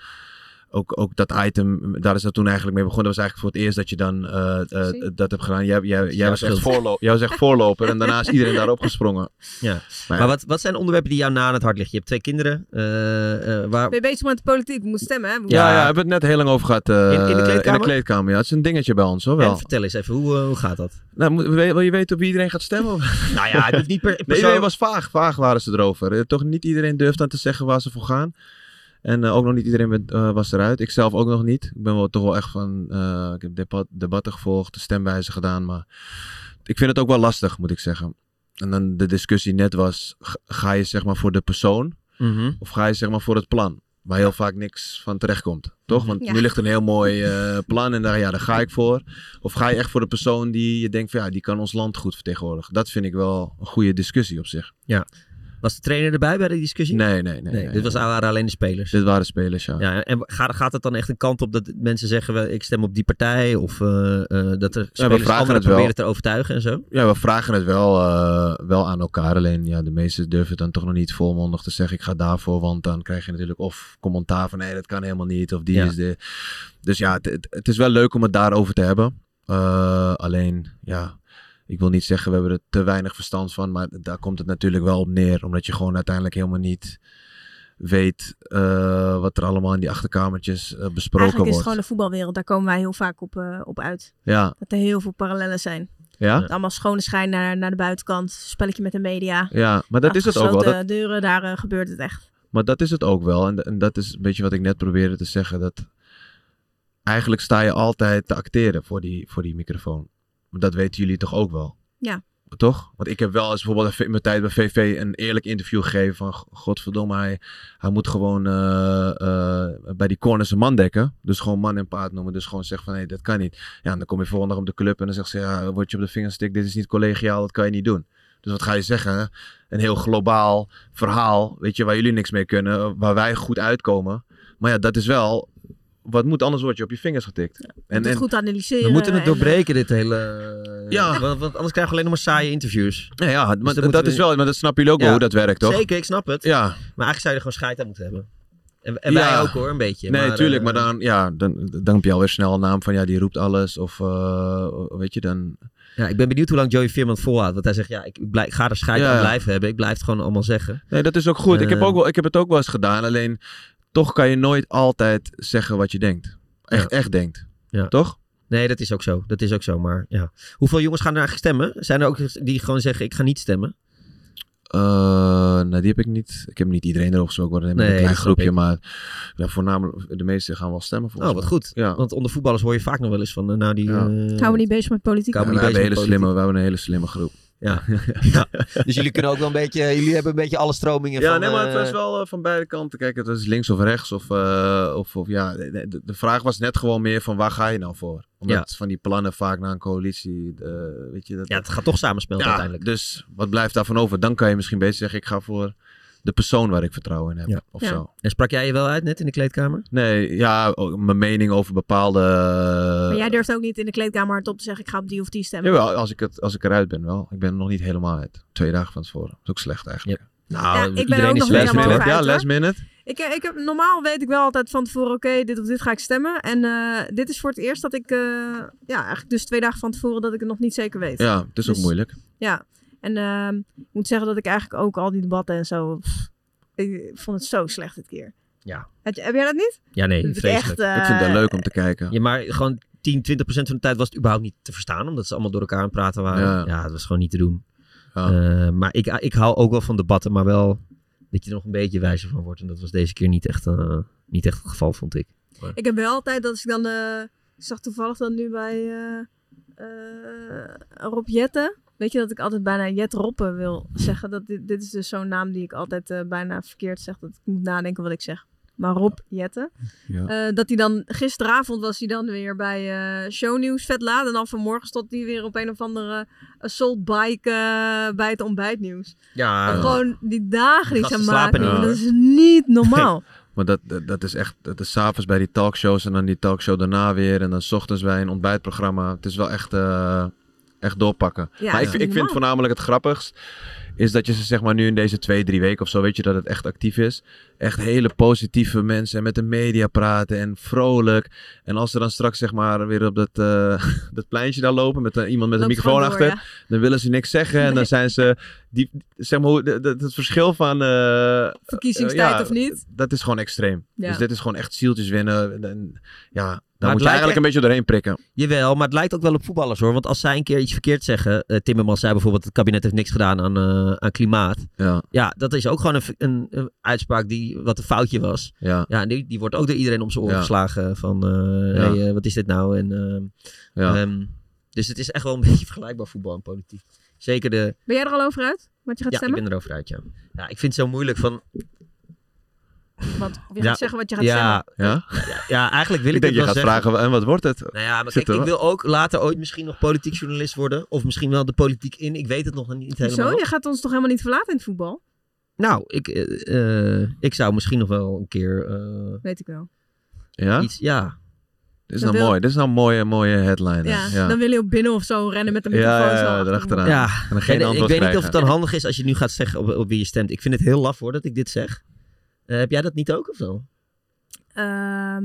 Ook, ook dat item, daar is dat toen eigenlijk mee begonnen. Dat was eigenlijk voor het eerst dat je dan eh, eh,
Precies.
dat hebt gedaan. Jij, jij, jij,
jouw
was echt
schuld.
voorlo- jij was echt voorloper en daarna is iedereen daarop gesprongen.
Ja.
Maar
Maar wat, wat zijn onderwerpen die jou na aan het hart liggen? Je hebt twee kinderen. eh, eh, waar...
Ben je bezig met de politiek? We moeten stemmen, hè? We
Ja,
Ja.
ja, hebben we het net heel lang over gehad. eh,
in de kleedkamer?
kleedkamer, ja. Het is een dingetje bij ons, hoor wel.
En vertel eens even, hoe, eh, hoe gaat dat?
Nou, moet- wil je- wil je weten op wie iedereen gaat stemmen?
nou ja, het hoeft (laughs) niet per
Nee,
persoon.
iedereen was vaag. Vaag waren ze erover. Eh, Toch niet iedereen durfde aan te zeggen waar ze voor gaan. En eh, ook nog niet iedereen werd- eh, was eruit. Ik zelf ook nog niet. Ik ben wel, toch wel echt van... eh, ik heb debat, debatten gevolgd, de stemwijze gedaan. Maar ik vind het ook wel lastig, moet ik zeggen. En dan de discussie net was... g- Ga je zeg maar voor de persoon
Mhm.
Of ga je zeg maar voor het plan? Waar heel vaak niks van terechtkomt. Toch? Want
Ja.
nu ligt een heel mooi eh, plan en daar, ja, daar ga ik voor. Of ga je echt voor de persoon die je denkt van ja, die kan ons land goed vertegenwoordigen. Dat vind ik wel een goede discussie op zich.
Ja. Was de trainer erbij bij de discussie?
Nee, nee, nee.
Nee, dit was, waren alleen de spelers.
Dit waren spelers, ja.
Ja, en gaat, gaat het dan echt een kant op dat mensen zeggen, wel, ik stem op die partij? Of eh, eh, dat er spelers
vragen
anderen
het wel.
proberen te overtuigen en zo?
Ja, we vragen het wel, eh, wel aan elkaar. Alleen ja, de meesten durven het dan toch nog niet volmondig te zeggen. Ik ga daarvoor. Want dan krijg je natuurlijk of commentaar van nee, dat kan helemaal niet. Of die
Ja.
is de. Dus ja, het- het, het is wel leuk om het daarover te hebben. Eh, alleen ja, ik wil niet zeggen we hebben er te weinig verstand van. Maar daar komt het natuurlijk wel op neer. Omdat je gewoon uiteindelijk helemaal niet weet eh, wat er allemaal in die achterkamertjes eh, besproken
Eigenlijk is het
wordt.
gewoon de voetbalwereld. Daar komen wij heel vaak op, eh, op uit.
Ja,
Dat er heel veel parallellen zijn.
ja.
Allemaal schone schijn naar, naar de buitenkant. Spelletje met de media.
Ja, maar dat is het ook wel. Dat-
Achter gesloten deuren, daar eh, gebeurt het echt.
Maar dat is het ook wel. En, en dat is een beetje wat ik net probeerde te zeggen. Dat eigenlijk sta je altijd te acteren voor die, voor die microfoon. Maar dat weten jullie toch ook wel?
Ja.
Toch? Want ik heb wel eens bijvoorbeeld even in mijn tijd bij VV een eerlijk interview gegeven van... "Go- Godverdomme, hij, hij moet gewoon eh, eh, bij die corners een man dekken. Dus gewoon man en paard noemen. Dus gewoon zeggen van, hé, dat kan niet. Ja, en dan kom je volgende dag op de club en dan zegt ze... Ja, word je op de vingerstick, dit is niet collegiaal, dat kan je niet doen. Dus wat ga je zeggen? Een heel globaal verhaal, weet je, waar jullie niks mee kunnen, waar wij goed uitkomen. Maar ja, dat is wel, wat moet anders word je op je vingers getikt.
En,
en, en,
het goed analyseren.
We moeten het
en, eh,
doorbreken, dit hele... eh,
Ja.
Want, want anders krijgen we alleen nog maar saaie interviews.
ja, ja, maar
moeten
dat,
we-
is wel, maar dat snappen jullie ook wel
Ja,
hoe dat werkt, toch?
Zeker, ik snap het.
Ja,
Maar eigenlijk zou je er gewoon scheid aan moeten hebben. En, en
Ja.
wij ook hoor, een beetje.
nee,
maar,
tuurlijk,
eh,
maar dan, ja, dan, dan heb je alweer snel een naam van, ja, die roept alles, of eh, weet je, dan...
Ja, ik ben benieuwd hoe lang Joey Veerman het volhoudt. Want hij zegt, ja, ik, blij- ik ga er scheid
Ja.
aan blijven hebben. Ik blijf het gewoon allemaal zeggen.
Nee, dat is ook goed. ik, heb
Eh.
ook wel, ik heb het ook wel eens gedaan, alleen toch kan je nooit altijd zeggen wat je denkt. Echt, echt denkt.
Ja.
Toch?
Nee, dat is ook zo. Dat is ook zo, maar ja. Hoeveel jongens gaan er eigenlijk stemmen? Zijn er ook die gewoon zeggen, ik ga niet stemmen?
Eh, nou, die heb ik niet. Ik heb niet iedereen erop gesproken, maar
Nee,
een klein
dat snap
groepje.
ik.
Maar ja, voornamelijk de meeste gaan wel stemmen volgens
Oh, wat
mij.
goed.
Ja.
Want onder voetballers hoor je vaak nog wel eens van, eh, nou die...
Ja.
eh,
Ik hou me niet bezig met politiek.
Kan-
Ja,
me
we,
niet bezig met
hebben een hele
politiek.
slimme, we hebben een hele slimme groep.
Ja. Dus jullie kunnen ook wel een beetje, jullie hebben een beetje alle stromingen
Ja,
van...
nee, maar het
eh,
was wel eh, van beide kanten. Kijk, het was links of rechts. Of, eh, of, of ja, de, de- de vraag was net gewoon meer van waar ga je nou voor? Omdat van die plannen vaak naar een coalitie, eh, weet je dat.
Ja, het gaat toch samenspelen
Ja,
uiteindelijk.
dus wat blijft daarvan over? Dan kan je misschien beter zeggen, ik ga voor de persoon waar ik vertrouwen in heb.
Ja.
Of
Ja.
zo.
En sprak jij je wel uit net in de kleedkamer?
Nee, ja, ook mijn mening over bepaalde... eh,
maar jij durft ook niet in de kleedkamer hardop te zeggen, ik ga op die of die stemmen.
Jawel, als ik, het, als ik eruit ben wel. Ik ben er nog niet helemaal uit. Twee dagen van tevoren. Dat is ook slecht eigenlijk.
Nou,
Ja, ik ben iedereen ook is nog niet
Last
helemaal
minute.
over
Ja,
uit,
last
hoor.
minute.
Ik, eh, ik heb, normaal weet ik wel altijd van tevoren, oké, dit of dit ga ik stemmen. En eh, dit is voor het eerst dat ik, eh, ja, eigenlijk dus twee dagen van tevoren dat ik het nog niet zeker weet.
Ja, het is ook
Dus-
moeilijk.
Ja. En ehm, ik moet zeggen dat ik eigenlijk ook al die debatten en zo, pff, ik vond het zo slecht dit keer.
Ja.
Heb, je- heb jij dat niet?
Ja, nee,
Dat ik
vreselijk.
echt, eh,
ik vind het wel leuk om te kijken.
Ja, maar gewoon 10, 20 procent van de tijd was het überhaupt niet te verstaan. Omdat ze allemaal door elkaar aan het praten waren. Ja,
Ja.
dat was gewoon niet te doen.
Ja.
Eh, maar ik, ik hou ook wel van debatten. Maar wel dat je er nog een beetje wijzer van wordt. En dat was deze keer niet echt, eh, niet echt het geval, vond ik.
Ik heb wel altijd dat als ik dan. eh, ik zag toevallig dan nu bij eh, eh, Rob Jette. Weet je dat ik altijd bijna Jet Roppen wil zeggen? Dat dit, dit is dus zo'n naam die ik altijd eh, bijna verkeerd zeg. Dat ik moet nadenken wat ik zeg. Maar Rob Jette.
Ja.
Eh, dat hij dan gisteravond was hij dan weer bij eh Shownieuws Vetla. En dan vanmorgen stond hij weer op een of andere eh, assault bike eh, bij het ontbijtnieuws.
Ja,
En Gewoon die dagen die
Gasten
ze
slapen
maken.
niet,
dat
hoor.
is niet normaal.
(laughs) Maar dat, dat, dat is echt, dat is s'avonds bij die talkshows en dan die talkshow daarna weer. En dan 's ochtends bij een ontbijtprogramma. Het is wel echt, eh, echt doorpakken.
Ja,
maar
dat
ik,
is
ik vind
normaal.
voornamelijk het grappigst is dat je ze zeg maar nu in deze twee, drie weken of zo, weet je dat het echt actief is. Echt hele positieve mensen en met de media praten en vrolijk. En als ze dan straks zeg maar weer op dat, eh, (laughs) dat pleintje daar lopen met eh, iemand met een
Loopt
microfoon
gewoon door,
achter.
ja.
Dan willen ze niks zeggen en dan zijn ze, die, zeg maar hoe, de- de- het verschil van... eh,
Verkiezingstijd
ja,
of niet?
dat is gewoon extreem.
Ja.
Dus dit is gewoon echt zieltjes winnen. En- en- ja, daar
het lijkt
moet je eigenlijk
echt-
een beetje doorheen prikken.
Jawel, maar het lijkt ook wel op voetballers hoor. Want als zij een keer iets verkeerd zeggen. eh Timmermans zei bijvoorbeeld: het kabinet heeft niks gedaan aan, eh, aan klimaat.
Ja,
Ja, dat is ook gewoon een, een, een uitspraak die wat een foutje was.
ja,
Ja, en die, die wordt ook door iedereen om zijn oren
Ja.
geslagen. Van eh,
Ja.
hey, eh, wat is dit nou? En, ehm,
ja.
ehm, dus het is echt wel een (laughs) beetje vergelijkbaar voetbal en politiek. Zeker de.
Ben jij er al over uit? Wat je gaat
Ja,
stemmen?
ik ben erover uit, ja. ja. Ik vind het zo moeilijk van.
Want of je
Ja,
gaat zeggen wat je gaat
Ja,
ja?
ja, eigenlijk wil ik,
Ik denk, je
het wel
gaat
zeggen.
vragen, en wat wordt het?
Nou ja, maar
Zit
kijk, ik
er
wil ook later ooit misschien nog politiek journalist worden. Of misschien wel de politiek in. Ik weet het nog niet
zeggen.
helemaal.
Zo, je gaat ons toch helemaal niet verlaten in het voetbal?
Nou, ik, eh, eh, ik zou misschien nog wel een keer eh,
Weet ik wel.
Ja?
iets... Ja,
Dit is
Dan
nou
wil-
mooi. Dit is nou een mooie, mooie headline. hè.
Ja,
ja.
dan wil je op binnen of zo rennen met een
Ja,
microfoon.
ja,
zo
ja,
achter hem.
erachteraan.
ja.
Ja. En dan
En,
geen
eh, ik
antwoord
weet niet of het
krijgen.
dan handig is als je nu gaat zeggen op, op wie je stemt. Ik vind het heel laf hoor dat ik dit zeg. Eh, heb jij dat niet ook of zo?
Ehm,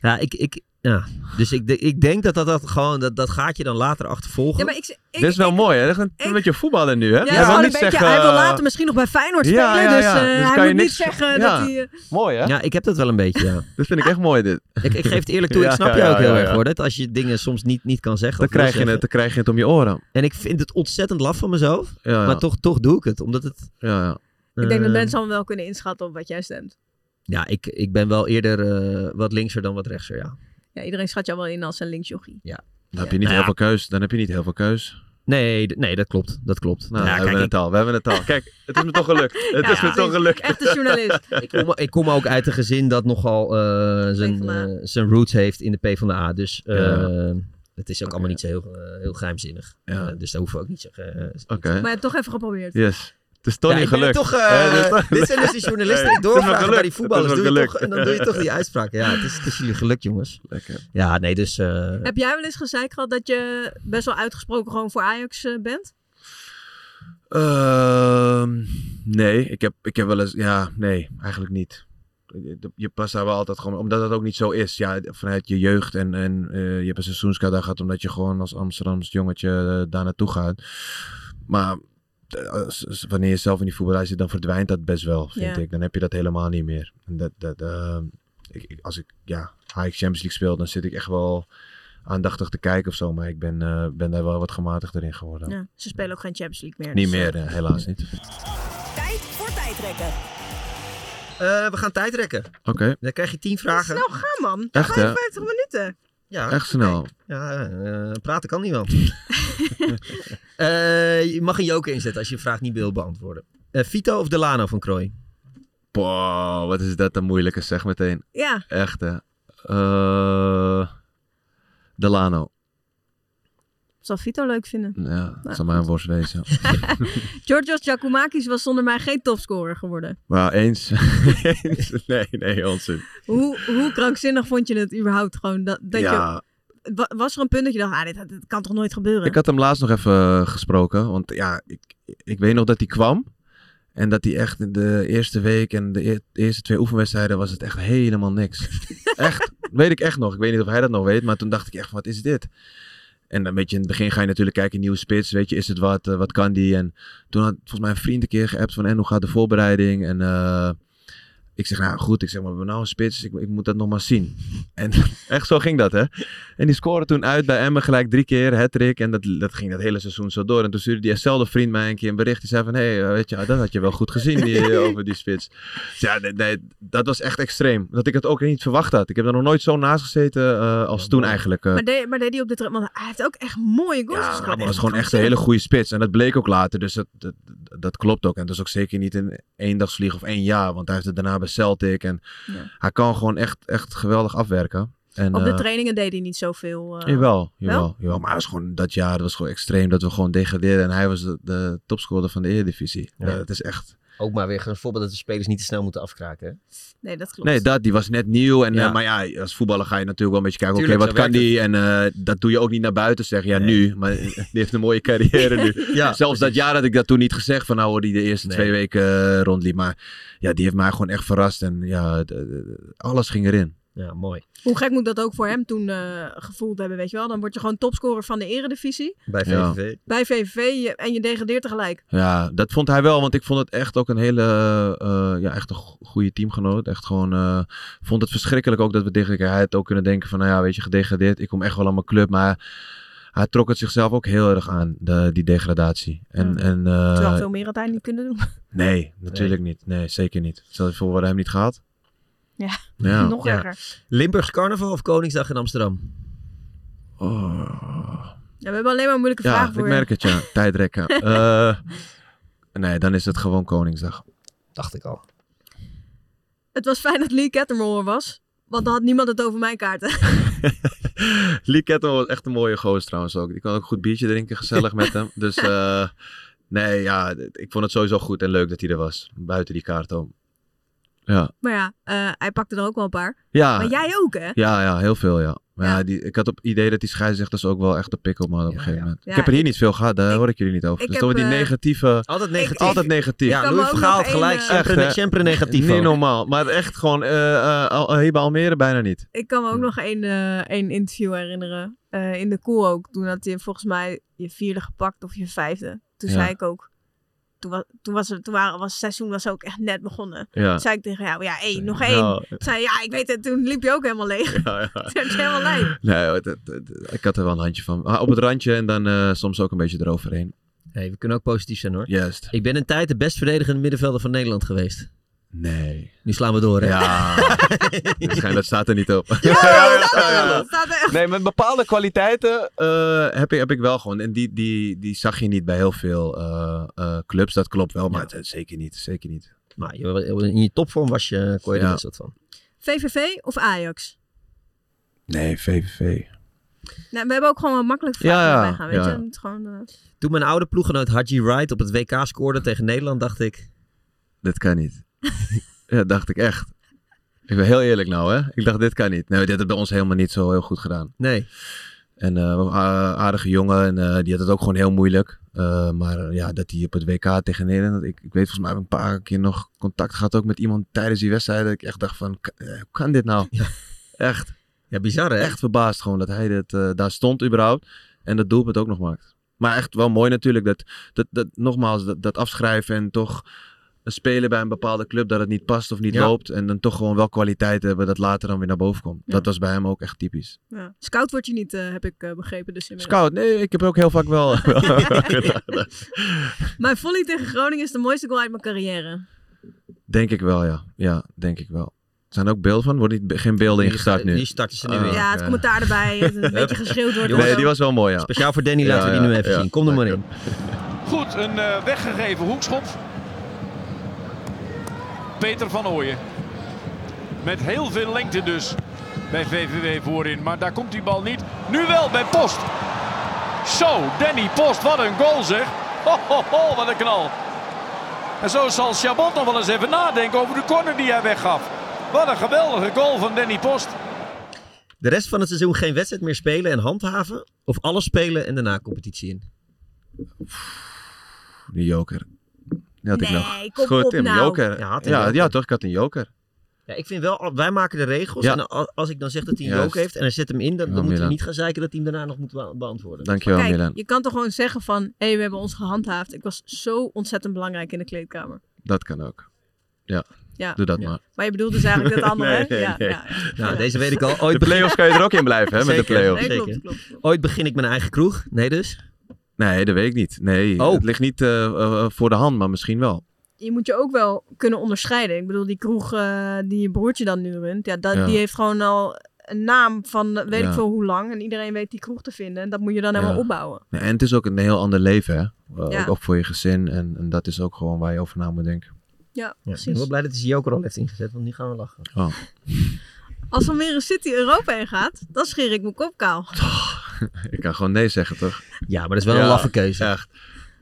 Ja, ik, ik, ja. dus ik, de- ik denk dat dat, dat gewoon, dat, dat gaat je dan later achtervolgen.
ja, maar ik, ik,
Dit is wel
ik-
mooi, hè? Dit is een
ik-
een beetje voetballen nu, hè?
Ja,
Hij wil
gewoon een
niet
beetje,
zeggen,
hij wil
eh,
later misschien nog bij Feyenoord
ja,
spelen.
ja,
Dus,
ja.
eh,
Dus
hij
kan
moet
je
niet
niks-
zeggen
ja.
dat hij... eh,
Mooi, hè?
Ja, ik heb dat wel een beetje, ja.
(laughs) Dit vind ik echt mooi, dit.
Ik, ik geef het eerlijk toe, ik
Ja,
snap je
ja,
ook heel
ja,
erg
ja.
hoor. Dat als je dingen soms niet, niet kan zeggen.
Dan
of wil
krijg, je
zeggen.
het, dan krijg je het om je oren.
En ik vind het ontzettend laf van mezelf.
Ja, ja.
Maar toch, toch doe ik het. Omdat het...
ja, ja.
ik denk dat
eh,
mensen allemaal wel kunnen inschatten op wat jij stemt.
Ja, ik, ik ben wel eerder eh, wat linkser dan wat rechtser, ja.
Ja, iedereen schat jou wel in als een linksjochie.
Dan heb je niet
Ja.
heel veel keus. Dan heb je niet heel veel keus.
Nee, d- nee dat klopt. Dat klopt.
Nou,
Ja,
we
kijk,
hebben
ik-
het al. We hebben het al. Kijk, het is me toch
(laughs)
gelukt. Het
Ja,
is me
precies.
toch gelukt.
Echte
(laughs)
journalist.
ik, kom, ik kom ook uit een gezin dat nogal eh, zijn,
PvdA.
eh, zijn roots heeft in de PvdA. Dus eh,
Ja.
het is ook allemaal niet zo heel, eh, heel geheimzinnig.
Ja.
Eh, dus daar hoeven we ook niet zo... eh,
Oké.
Maar ja, toch even geprobeerd.
Yes. Het is toch
ja,
niet
ik ben
gelukt.
Toch, eh,
Ja, dit is toch-
dit zijn dus die journalisten
Nee,
die
het is me
doorvragen bij
gelukt.
die
Het is
voetballers.
me
Doe je
gelukt.
toch, en dan doe je toch die uitspraak. Ja, het is, het is jullie geluk, jongens.
Lekker.
Ja, nee, dus... eh,
Heb jij wel eens gezeik gehad dat je best wel uitgesproken gewoon voor Ajax eh, bent?
Ehm, nee, ik heb, ik heb wel eens... Ja, nee, eigenlijk niet. Je past daar wel altijd gewoon... Omdat dat ook niet zo is. Ja, vanuit je jeugd en, en eh, je hebt een seizoenskaart daar gehad... omdat je gewoon als Amsterdams jongetje eh, daar naartoe gaat. Maar eh, als- als- wanneer je zelf in die voetballerij zit... dan verdwijnt dat best wel, vind
Ja.
ik. Dan heb je dat helemaal niet meer. En dat, dat, ehm, ik, ik- als ik ja, Ajax Champions League speel... dan zit ik echt wel aandachtig te kijken of zo. Maar ik ben, eh, ben daar wel wat gematigder in geworden.
Ja, ze spelen ook geen Champions League meer.
Niet
dus, eh,
meer, eh, helaas niet.
Tijd voor tijdrekken.
eh, we gaan tijd rekken.
Oké,
Dan krijg je tien vragen.
Snel gaan, man.
Echt,
Gewoon
hè?
50 minuten.
Ja,
echt snel.
ja eh, praten kan niet
(laughs)
wel. Eh, je mag een joker inzetten als je een vraag niet wil beantwoorden. Eh, Vito of Delano van Krooi?
Boah, wat is dat een moeilijke zeg meteen.
Ja,
Echt hè. Eh, Delano.
zal Vito leuk vinden.
Ja, dat zal mijn worst wezen.
Georgios Giacomakis was zonder mij geen topscorer geworden.
Maar eens. (laughs) eens. Nee, nee, onzin.
Hoe, hoe krankzinnig vond je het überhaupt gewoon? Dat, dat
Ja,
je, wa- was er een punt dat je dacht, ah, dit, dit kan toch nooit gebeuren?
ik had hem laatst nog even eh, gesproken. Want ja, ik, ik weet nog dat hij kwam. En dat hij echt in de eerste week en de eer- eerste twee oefenwedstrijden was het echt helemaal niks. echt, weet ik echt nog. Ik weet niet of hij dat nog weet, maar toen dacht ik echt, wat is dit? En een beetje in het begin ga je natuurlijk kijken, nieuwe spits, weet je, is het wat, eh, wat kan die? En toen had volgens mij een vriend een keer geappt van, en hoe gaat de voorbereiding? En eh, ik zeg, nou goed, ik zeg, maar we hebben nou een spits, ik, ik moet dat nog maar zien. (laughs) En echt zo ging dat, hè? En die scoorde toen uit bij Emmen gelijk drie keer, hat-trick. En dat, dat ging dat hele seizoen zo door. En toen stuurde diezelfde vriend mij een keer een bericht. Die zei van, hé, hey, eh, weet je, dat had je wel goed gezien die,
(laughs)
eh, over die spits. Dus ja, nee, nee, dat was echt extreem. Dat ik het ook niet verwacht had. Ik heb er nog nooit zo naast gezeten eh, als
Ja,
toen
mooi.
eigenlijk. eh.
maar, deed, maar deed hij op de trap? Want hij heeft ook echt mooie goals
Ja,
gescoord.
maar het was gewoon echt een hele goede spits. En dat bleek ook later. Dus dat, dat, dat klopt ook. En dat is ook zeker niet in één dag vlieg of één jaar. Want hij heeft het daarna bij Celtic. En
Ja.
hij kan gewoon echt, echt geweldig afwerken. En,
Op de
eh,
trainingen deed hij niet zoveel. eh,
Jawel, jawel,
Wel?
jawel. Maar het was gewoon, dat jaar dat was gewoon extreem dat we gewoon degradeerden. En hij was de, de topscorer van de Eredivisie.
Ja.
Ja. het is echt...
Ook maar weer een voorbeeld dat de spelers niet te snel moeten afkraken. hè?
Nee, dat klopt.
Nee, dat, die was net nieuw. En,
Ja.
eh, maar ja, als voetballer ga je natuurlijk wel een beetje kijken, oké,
Tuurlijk,
wat
zo
kan
werkt
die? En eh, dat doe je ook niet naar buiten zeggen. Ja,
Nee.
nu. Maar (laughs) eh, die heeft een mooie carrière nu.
Ja,
Zelfs dat jaar had ik dat toen niet gezegd van nou hoor, die de eerste
Nee.
twee weken eh, rondliep. Maar ja, die heeft mij gewoon echt verrast. En ja, d- d- alles ging erin.
Ja, mooi.
Hoe gek moet dat ook voor hem toen eh, gevoeld hebben, weet je wel? Dan word je gewoon topscorer van de eredivisie
Bij
Ja.
VVV.
bij VVV je- en je degradeert tegelijk.
Ja, dat vond hij wel, want ik vond het echt ook een hele eh, ja, echt een go- goede teamgenoot. Echt gewoon, eh, vond het verschrikkelijk ook dat we tegen hij had ook kunnen denken van, nou ja, weet je, gedegradeerd. Ik kom echt wel aan mijn club, maar hij trok het zichzelf ook heel erg aan, de, die degradatie. En,
Ja.
en eh,
Terwijl veel meer had hij niet kunnen doen.
nee, natuurlijk niet. Nee, zeker niet. Stel je voor, we hadden hem niet gehad.
Ja.
nou,
(laughs)
Ja.
Nog
ja.
erger.
Limburgs carnaval of Koningsdag in Amsterdam?
Oh.
Ja, we hebben alleen maar moeilijke
Ja,
vragen
ik
voor
merk
je. (laughs)
het, ja. Tijdrekken. Eh, nee, dan is het gewoon Koningsdag. (laughs)
Dacht ik al.
Het was fijn dat Lee Kettermol er was, want dan had niemand het over mijn kaarten. (laughs) (laughs)
Lee Kettle was echt een mooie gozer trouwens ook. Ik kan ook een goed biertje drinken, gezellig met hem. Dus eh, Nee, ja, d- ik vond het sowieso goed en leuk dat hij er was. Buiten die kaart om. Ja.
Maar ja, eh, hij pakte er ook wel een paar.
Ja,
Maar jij ook, hè?
ja, ja heel veel, ja. Maar ja,
Ja.
die, ik had op idee dat die scheidsrechters ook wel echt de pik op me hadden op
Ja,
een gegeven
ja.
moment.
Ja,
ik heb er hier
ik-
niet veel gehad, daar
ik-
hoor ik jullie niet over.
ik
Dus
heb,
dan wordt die
eh,
negatieve...
(laughs)
Altijd
negatief.
negatief.
Altijd negatief.
Ja,
kan me
Louis
ook
Vergaal
nog
had gelijk.
één, eh,
Sempre,
Echt, hè?
sempre negatief.
Niet
ook.
normaal. Maar echt gewoon, eh, eh, Al- Heba Almere bijna niet.
Ik kan me ook nog één, eh, één interview herinneren. Eh, in de cool ook. Toen had je volgens mij je vierde gepakt of je vijfde. Toen
Ja.
zei ik ook. Toen, was, toen, was, het- toen waren, was het seizoen was ook echt net begonnen.
Ja.
Toen zei ik tegen jou, ja, één, nog één.
Ja, (laughs)
Toen zei je, ja, ik weet het. Toen liep je ook helemaal leeg.
ja, Nou, ja.
Toen werd je helemaal lijp.
Nee, het- het- het- ik had er wel een handje van. Ah, Op het randje en dan eh, soms ook een beetje eroverheen.
Hey, we kunnen ook positief zijn hoor.
Juist.
Ik ben een tijd de best verdedigende middenvelder van Nederland geweest.
Nee.
Nu slaan we door, hè?
(laughs)
Ja. Waarschijnlijk dat staat er niet op.
(laughs) Ja, dat staat er wel.
ja.
Dat staat er echt.
Nee, met bepaalde kwaliteiten eh, heb, ik, heb ik wel gewoon. En die, die, die zag je niet bij heel veel eh, eh, clubs. Dat klopt wel, maar
Ja.
het- het zeker niet. Zeker niet.
Maar je- in je topvorm was je, kon je er
Ja.
niet zat van.
VVV of Ajax?
Nee, VVV.
Nou, we hebben ook gewoon wel makkelijk
Ja,
vragen
ja,
erbij gaan, weet
ja.
je. Het gewoon, eh,
Toen mijn oude ploeggenoot Haji Wright op het WK scoorde tegen Nederland, dacht ik...
Dit kan niet. (laughs) ja, dacht ik echt. Ik ben heel eerlijk nou, hè. Ik dacht, dit kan niet. Nee, dit had bij ons helemaal niet zo heel goed gedaan.
Nee,
En eh, een a- aardige jongen, en, eh, die had het ook gewoon heel moeilijk. Eh, maar eh, ja, dat hij op het WK tegen Nederland... Ik, ik weet volgens mij heb ik een paar keer nog contact gehad ook met iemand tijdens die wedstrijd. Dat ik echt dacht van, k- eh, hoe kan dit nou? Echt,
ja, bizar
(laughs)
hè?
echt verbaasd gewoon dat hij dit, eh, daar stond überhaupt. En dat doelpunt ook nog maakt. Maar echt wel mooi natuurlijk. Dat, dat, dat, nogmaals, dat, dat afschrijven en toch een spelen bij een bepaalde club dat het niet past of niet
Ja.
loopt. En dan toch gewoon wel kwaliteit hebben dat later dan weer naar boven komt. Dat was bij hem ook echt typisch.
ja. Scout word je niet, eh, heb ik eh, begrepen. Dus inmiddels.
Scout, nee, ik heb ook heel vaak (laughs) wel.
(laughs)
Mijn volley tegen Groningen is de mooiste goal uit mijn carrière.
Oh, denk ik wel, ja. Ja, denk ik wel. Er zijn ook beelden van, worden niet, geen beelden ingestart nu.
Die starten ze nu
Ah.
weer.
ja, het
oké.
commentaar erbij. Het
(laughs)
een beetje geschreeuwd wordt.
Jongens,
Nee, die was wel mooi, ja.
Speciaal voor Danny laten we
Ja,
die nu
ja,
even
ja.
zien. Kom er maar in.
Goed, een eh, weggegeven hoekschop. Peter van Ooyen. Met heel veel lengte dus bij VVW voorin. Maar daar komt die bal niet. Nu wel bij Post. Zo, Danny Post, wat een goal zeg. Ho, ho, ho, wat een knal. En zo zal Chabot nog wel eens even nadenken over de corner die hij weggaf. Wat een geweldige goal van Danny Post.
De rest van het seizoen geen wedstrijd meer spelen en handhaven? Of alles spelen en daarna competitie in?
Die joker. Die had ik
Nee,
nog.
kom
Goed,
op
Tim,
nou.
joker.
Ja, had hij
Ja,
joker.
ja, toch, ik had een joker.
Ja, ik vind wel, wij maken de regels.
Ja.
En al- als ik dan zeg dat hij een
Juist.
joker heeft en hij zet hem in, dan,
Ja,
dan moet hij
Milan.
niet gaan zeiken dat hij hem daarna nog moet be- beantwoorden.
Dankjewel,
Kijk,
Milan.
je kan toch gewoon zeggen van... Hé, we hebben ons gehandhaafd. Ik was zo ontzettend belangrijk in de kleedkamer.
Dat kan ook. Ja,
Ja.
doe dat
Ja.
maar.
Maar je bedoelt dus
(laughs)
eigenlijk dat andere,
Nee,
hè?
nee,
ja,
nee.
ja, ja.
Nou,
Ja.
deze weet ik al. Ooit,
De
begin,
play-offs kan je er ook in blijven, hè, met de
Zeker.
play-offs.
Nee,
Zeker.
klopt, klopt, klopt.
ooit begin ik mijn eigen kroeg. Nee dus?
Nee, dat weet ik niet. Nee,
Oh.
het ligt niet eh, eh, voor de hand, maar misschien wel.
Je moet je ook wel kunnen onderscheiden. Ik bedoel, die kroeg eh, die je broertje dan nu runt... Ja, dat,
Ja.
die heeft gewoon al een naam van eh, weet
Ja.
ik veel hoe lang. En iedereen weet die kroeg te vinden. En dat moet je dan
Ja.
helemaal opbouwen.
Nee, en het is ook een heel ander leven, hè. Eh,
Ja.
ook- Ook voor je gezin. En, en dat is ook gewoon waar je over na moet denken.
Ja,
Ja, ik ben
precies.
wel blij dat hij zijn joker al heeft ingezet, want nu gaan we lachen.
Oh.
Als Almere City Europa in gaat, dan scheer ik mijn kop kaal.
Ik kan gewoon nee zeggen, toch?
Ja, maar dat is wel een
Ja,
laffe keuze.
Echt.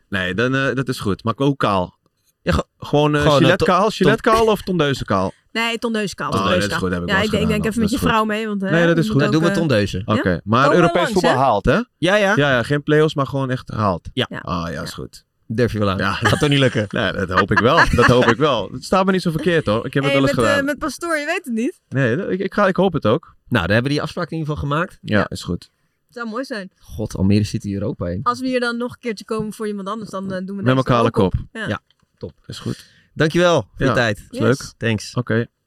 Nee, dan, eh, dat is goed. Maar hoe kaal?
Ja, ge-
gewoon eh
gewoon, eh,
gilet
to-
kaal? Gilet kaal of tondeuze kaal?
Nee, tondeuskaal.
Oh,
tondeuskaal.
dat is goed, heb ik
ja,
wel
ik,
eens
denk- ik denk
gedaan,
even
dat
met
is
je
goed.
vrouw mee. Want, hè,
Nee, dat is
je
goed.
moet
Dan doen we
ook, eh,
tondeuzen.
Oké, maar
Komen we
Europees
langs,
voetbal
hè?
haalt, hè?
Ja, ja.
Ja, ja, geen play-offs, maar gewoon echt haalt.
Ja.
Ja.
Ah, ja, is goed.
Durf je wel aan.
Ja. (laughs)
Gaat toch niet lukken?
Nee, dat hoop ik wel. Dat hoop ik wel. Het staat me niet zo verkeerd, hoor. Ik heb het
hey,
wel eens
met, eh,
gedaan.
met pastoor, je weet het niet.
Nee, ik, ik, ga, ik hoop het ook.
Nou, daar hebben we die afspraak in ieder geval gemaakt.
Ja, is goed.
Het zou mooi zijn.
God, Almere City Europa heen.
Als we hier dan nog een keertje komen voor iemand anders, dan eh, doen we
Met
deze
mijn kale
ook op.
kop.
Ja.
Ja.
Is goed.
Dankjewel voor
Ja.
je tijd.
Is leuk.
Thanks.
Oké.